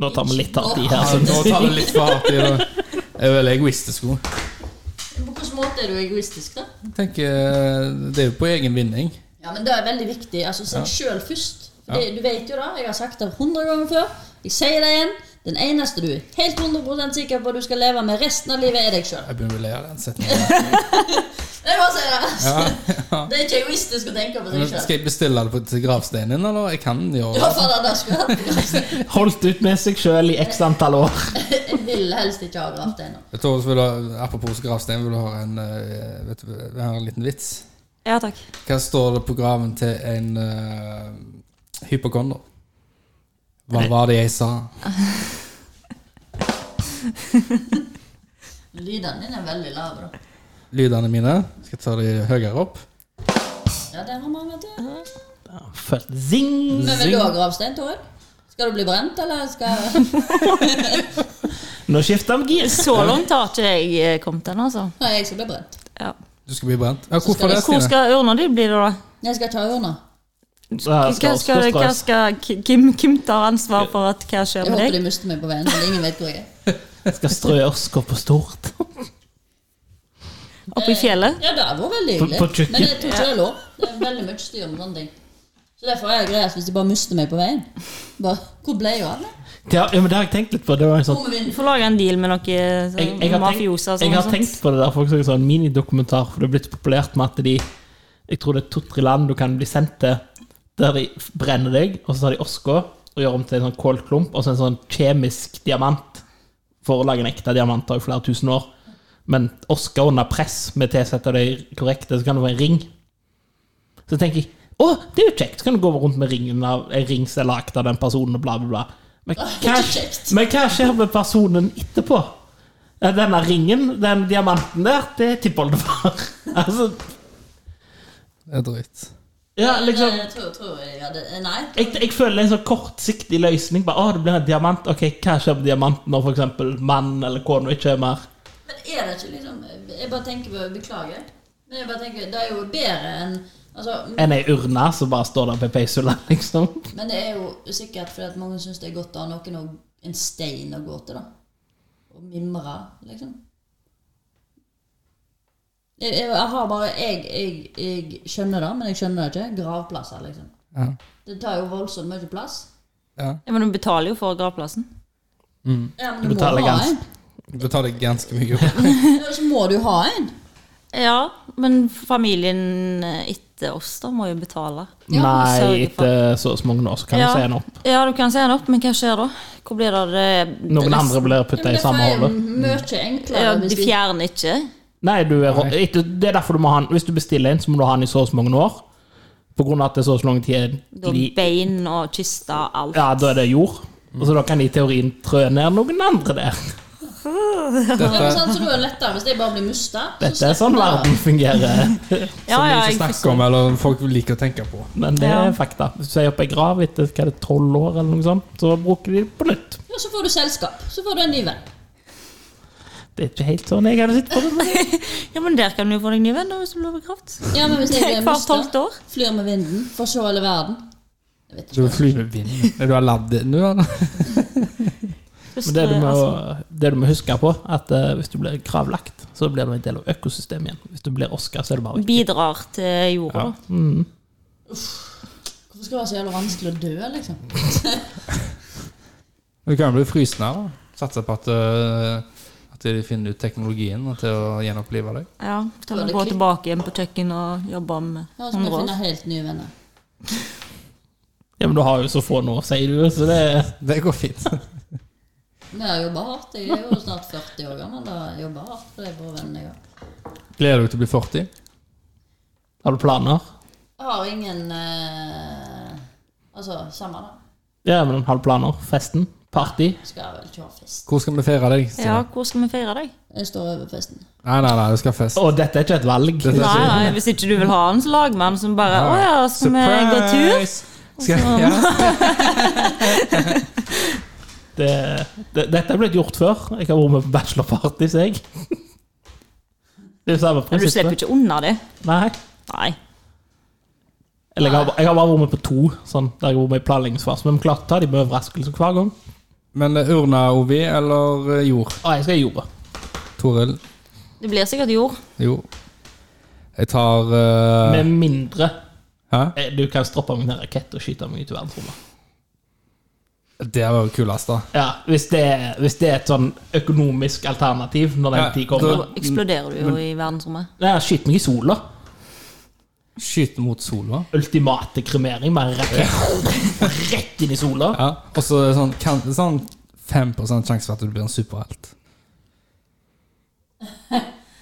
Speaker 2: Nå tar vi litt hardt i her.
Speaker 1: Altså, nå
Speaker 2: synes
Speaker 1: tar det
Speaker 2: jeg.
Speaker 1: litt for hardt i det. Jeg er veldig egoistisk nå.
Speaker 3: På hvilken måte er du egoistisk, da?
Speaker 1: Jeg tenker, eh, Det er jo på egen vinning.
Speaker 3: Ja, men det er veldig viktig. Altså, seg sjøl først. For
Speaker 1: Ja.
Speaker 3: det, du vet jo det, jeg har sagt det 100 ganger før. Jeg sier det igjen. Den eneste du er helt 100 sikker på at du skal leve med resten av livet, er deg sjøl.
Speaker 1: Jeg begynner å le av den setningen.
Speaker 3: Det er bare å si det. altså.
Speaker 1: Ja, ja.
Speaker 3: Det er ikke egoistisk å tenke på
Speaker 1: Men
Speaker 3: seg sjøl.
Speaker 1: Skal jeg bestille det på- til gravsteinen din, eller? Jeg kan jo
Speaker 3: Ja, for det, det skulle jeg hatt.
Speaker 2: Holdt ut med seg sjøl i x antall år.
Speaker 3: Jeg vil helst ikke ha gravd ennå.
Speaker 1: Jeg tror også vil du, ha- Apropos gravstein, vil du ha en, eh, vet du, jeg har en liten vits?
Speaker 4: Ja takk.
Speaker 1: Hva står det på graven til en uh, hypokonder? Hva var det jeg sa?
Speaker 3: Lydene dine er veldig lave, da.
Speaker 1: Lydene mine? Skal jeg ta de høyere opp?
Speaker 3: Ja, der har man, vet du.
Speaker 2: Følt zing.
Speaker 3: Men vil du ha gravstein, Toril? Skal du bli brent, eller skal
Speaker 2: Nå skifter vi gir.
Speaker 4: Så langt har ikke jeg eh, kommet ennå, altså.
Speaker 3: Nei, jeg skal bli brent.
Speaker 4: Ja.
Speaker 1: Du skal bli brent. Ja, hvorfor
Speaker 3: skal
Speaker 1: det,
Speaker 3: jeg-
Speaker 4: Hvor
Speaker 1: Stine?
Speaker 4: skal urna di bli, da?
Speaker 3: Jeg skal ikke ha urna.
Speaker 4: Hva skal, hva skal Kim, Kim tar ansvar for at hva skjer
Speaker 3: Jeg
Speaker 4: med
Speaker 3: håper de
Speaker 4: deg?
Speaker 3: mister meg på veien, så ingen vet hvor jeg er.
Speaker 2: Skal strø ørsker på stort.
Speaker 4: Oppe i fjellet?
Speaker 3: Ja, det hadde vært veldig
Speaker 2: På-
Speaker 3: hyggelig.
Speaker 2: på kjøkken.
Speaker 3: Men jeg tror ikke det er lov. Det er veldig mye styr med sånne ting. Så derfor er det greit hvis de bare mister meg på veien. Bare, Hvor ble jeg av? det?
Speaker 2: Ja, ja, men Det har jeg tenkt litt på. Det var en sånn
Speaker 3: Kommer vi inn?
Speaker 4: Du får lage en deal med noen
Speaker 2: jeg,
Speaker 4: sånn,
Speaker 2: jeg, har tenkt,
Speaker 4: mafioser. og sånn,
Speaker 2: jeg har
Speaker 4: sånt.
Speaker 2: tenkt på det der folk så en sånn minidokumentar, for det er blitt så populært med at de Jeg tror det er to-tre land du kan bli sendt til, der de f- brenner deg, og så tar de oska og gjør om til en sånn kålklump, og så en sånn kjemisk diamant. For å lage en ekte diamant tar jo flere tusen år. Men oska under press med tilsette av de korrekte, så kan du få en ring. Så tenker jeg å, det er jo kjekt, så kan du gå rundt med ringen av en ring som er lagd av den personen, og bla, bla, bla. Men hva,
Speaker 3: Kjekt.
Speaker 2: men hva skjer med personen etterpå? Ja, Denne ringen, den diamanten der, det er tippoldefar. altså,
Speaker 1: Det er drøyt.
Speaker 2: ja, liksom
Speaker 3: Jeg tror, tror jeg hadde Nei.
Speaker 2: jeg, jeg føler det er en sånn kortsiktig løsning. Bare, å, det blir en diamant. Ok, Hva skjer med diamanten når f.eks. mannen eller kona ikke er mer?
Speaker 3: Men er det ikke liksom Jeg bare tenker på Beklager. Men jeg bare tenker, det er jo bedre enn altså,
Speaker 2: Enn ei urne som bare står der på peisula, liksom.
Speaker 3: Men det er jo sikkert fordi at mange syns det er godt å ha noen og en stein å gå til, da. Og mimre, liksom. Jeg, jeg, jeg har bare jeg, jeg, jeg skjønner det, men jeg skjønner det ikke. Gravplasser, liksom.
Speaker 1: Ja.
Speaker 3: Det tar jo voldsomt mye plass.
Speaker 1: ja.
Speaker 4: Ja, men du betaler jo for gravplassen.
Speaker 3: Ja, men
Speaker 2: Du
Speaker 3: du må
Speaker 2: betaler
Speaker 3: ha
Speaker 2: gans-
Speaker 3: en.
Speaker 1: Du betaler ganske mye.
Speaker 3: Ja, Så må du ha en.
Speaker 4: Ja, men familien eh, etter oss da må jo betale.
Speaker 2: Nei,
Speaker 4: sørge for-
Speaker 2: etter så og så mange år så kan
Speaker 4: Ja.
Speaker 2: du se henne opp.
Speaker 4: Ja, du kan se den opp, men hva skjer da? Hvor blir det av det?
Speaker 2: Noen andre blir
Speaker 3: Ja,
Speaker 2: putta
Speaker 3: men
Speaker 2: i samme
Speaker 3: er jo
Speaker 2: hode.
Speaker 3: mye
Speaker 4: Ja,
Speaker 3: enklere.
Speaker 4: de
Speaker 3: hvis vi-
Speaker 4: fjerner ikke.
Speaker 2: Nei, du er, etter, det er derfor du må ha den. Hvis du bestiller en, så må du ha den i så og så mange år. På grunn av at det er så og så lang tid
Speaker 4: Da
Speaker 2: li-
Speaker 4: bein og kiste og alt.
Speaker 2: Ja, da er det jord. Og så da kan de i teorien trø ned noen andre der.
Speaker 3: Ja,
Speaker 1: Dette
Speaker 3: men sant, så da er sånn- det lettere hvis de bare blir musta. så
Speaker 2: Dette er
Speaker 3: slipper
Speaker 2: sånn
Speaker 3: man det.
Speaker 2: verden fungerer.
Speaker 4: Ja,
Speaker 1: som vi
Speaker 4: ja,
Speaker 1: ikke
Speaker 4: jeg
Speaker 1: snakker om,
Speaker 4: forstår.
Speaker 1: eller folk liker å tenke på.
Speaker 2: Men det
Speaker 4: Ja.
Speaker 2: er fakta. Hvis du sier opp ei grav etter hva er det, 12 år, eller noe sånt, så bruker de det på nytt.
Speaker 3: Ja, så får du selskap. Så får du en ny venn.
Speaker 2: Det er ikke helt sånn jeg hadde sett på det. men-
Speaker 4: Ja, men der kan du jo få deg ny venn da, hvis du blir begravd.
Speaker 3: Ja, men hvis jeg blir
Speaker 4: Hvert
Speaker 3: musta,
Speaker 4: tolvte år.
Speaker 3: flyr med vinden, får se hele verden. Jeg vet
Speaker 1: Så
Speaker 3: ikke.
Speaker 1: du flyr med vinden. Er du aladdin nå, eller?
Speaker 2: Men det du,
Speaker 4: Eh,
Speaker 2: må,
Speaker 4: altså,
Speaker 2: det du må huske på, at eh, hvis du blir gravlagt, så blir du en del av økosystemet igjen. Hvis du blir Oscar, så er du bare
Speaker 4: Bidrar til jorda. da.
Speaker 3: Hvorfor skal det være så jævla vanskelig å dø, liksom?
Speaker 1: Du kan jo bli frysende her. da. Satse på at, øh, at de finner ut teknologien til å gjenopplive deg.
Speaker 4: Ja, da
Speaker 3: Da er
Speaker 4: må
Speaker 3: det
Speaker 4: du gå
Speaker 3: klipp.
Speaker 4: tilbake igjen på kjøkken og jobbe om
Speaker 3: Ja, så må
Speaker 4: 100
Speaker 3: jeg
Speaker 4: år.
Speaker 3: finne helt nye venner.
Speaker 2: Ja, men du har jo så få nå, sier du, så det
Speaker 1: Det går fint.
Speaker 3: Vi har jobba hardt. Jeg er jo snart 40 år gammel. Da har jeg jobba hardt for de brødvennene jeg har.
Speaker 1: Gleder dere til å bli 40?
Speaker 2: Har du planer?
Speaker 3: Jeg har ingen eh, Altså, samme det.
Speaker 2: Ja, men har du planer? Festen? Party?
Speaker 3: Skal jeg vel ikke ha fest.
Speaker 1: Hvor skal vi feire deg? Stine?
Speaker 4: Ja, hvor skal vi feire deg?
Speaker 3: Jeg står over festen.
Speaker 1: Nei, nei, nei, du skal ha fest.
Speaker 2: Å, dette er ikke et valg.
Speaker 1: Dette er
Speaker 4: Nei, nei, hvis ikke du vil ha en slagmann som bare Å ja, skal vi gå tur?
Speaker 1: Skal, ja.
Speaker 2: Det, det, dette er blitt gjort før. Jeg har vært med på bachelorparty, så jeg. Det er jo samme
Speaker 4: Men du slipper
Speaker 2: prinsippet.
Speaker 4: ikke unna det.
Speaker 2: Nei.
Speaker 4: Nei.
Speaker 2: Eller jeg har, jeg har bare vært med på to, sånn, der jeg har vært med i planleggingsfasen. Men vi klarte å ta dem med overraskelse hver gang.
Speaker 1: Men eh, urna OV eller eh, jord?
Speaker 2: Å, jeg skal i jorda.
Speaker 1: Toril?
Speaker 4: Det blir sikkert jord.
Speaker 1: Jo. Jeg tar eh,
Speaker 2: Med mindre
Speaker 1: Hæ?
Speaker 2: eh, du kan stroppe meg med en rakett og skyte meg ut i verdensrommet.
Speaker 1: Det var jo kulest, da.
Speaker 2: Ja, hvis det, er- hvis det er et sånn økonomisk alternativ når den
Speaker 1: Ja,
Speaker 2: tid
Speaker 4: Da
Speaker 2: kommer.
Speaker 4: eksploderer du jo i verdensrommet.
Speaker 2: Nei, Skyt meg i sola.
Speaker 1: Skyte mot sola.
Speaker 2: Ultimate kremering med en rakett rett inn i sola.
Speaker 1: Ja. Og så er det sånn, kan, sånn 5 sjanse for at du blir en superhelt.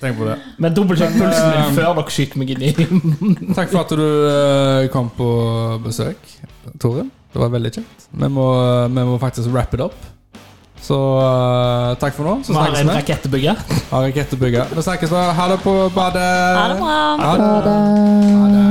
Speaker 1: Tenk på det.
Speaker 2: Men dobbeltsjekk
Speaker 1: Men,
Speaker 2: pulsen
Speaker 1: eh,
Speaker 2: min før dere skyter meg inn i
Speaker 1: Takk for at du eh, kom på besøk, Tore. Det var veldig kjekt. Vi må, eh, vi må faktisk wrap it up. Så eh, takk for nå. Så
Speaker 2: Vi har
Speaker 1: snakkes
Speaker 2: en
Speaker 1: vi.
Speaker 2: rakettbygger.
Speaker 1: Har rakettbygger. Vi snakkes. da. Ha det på badet.
Speaker 4: Ha det bra.
Speaker 1: Ha det. Ha det.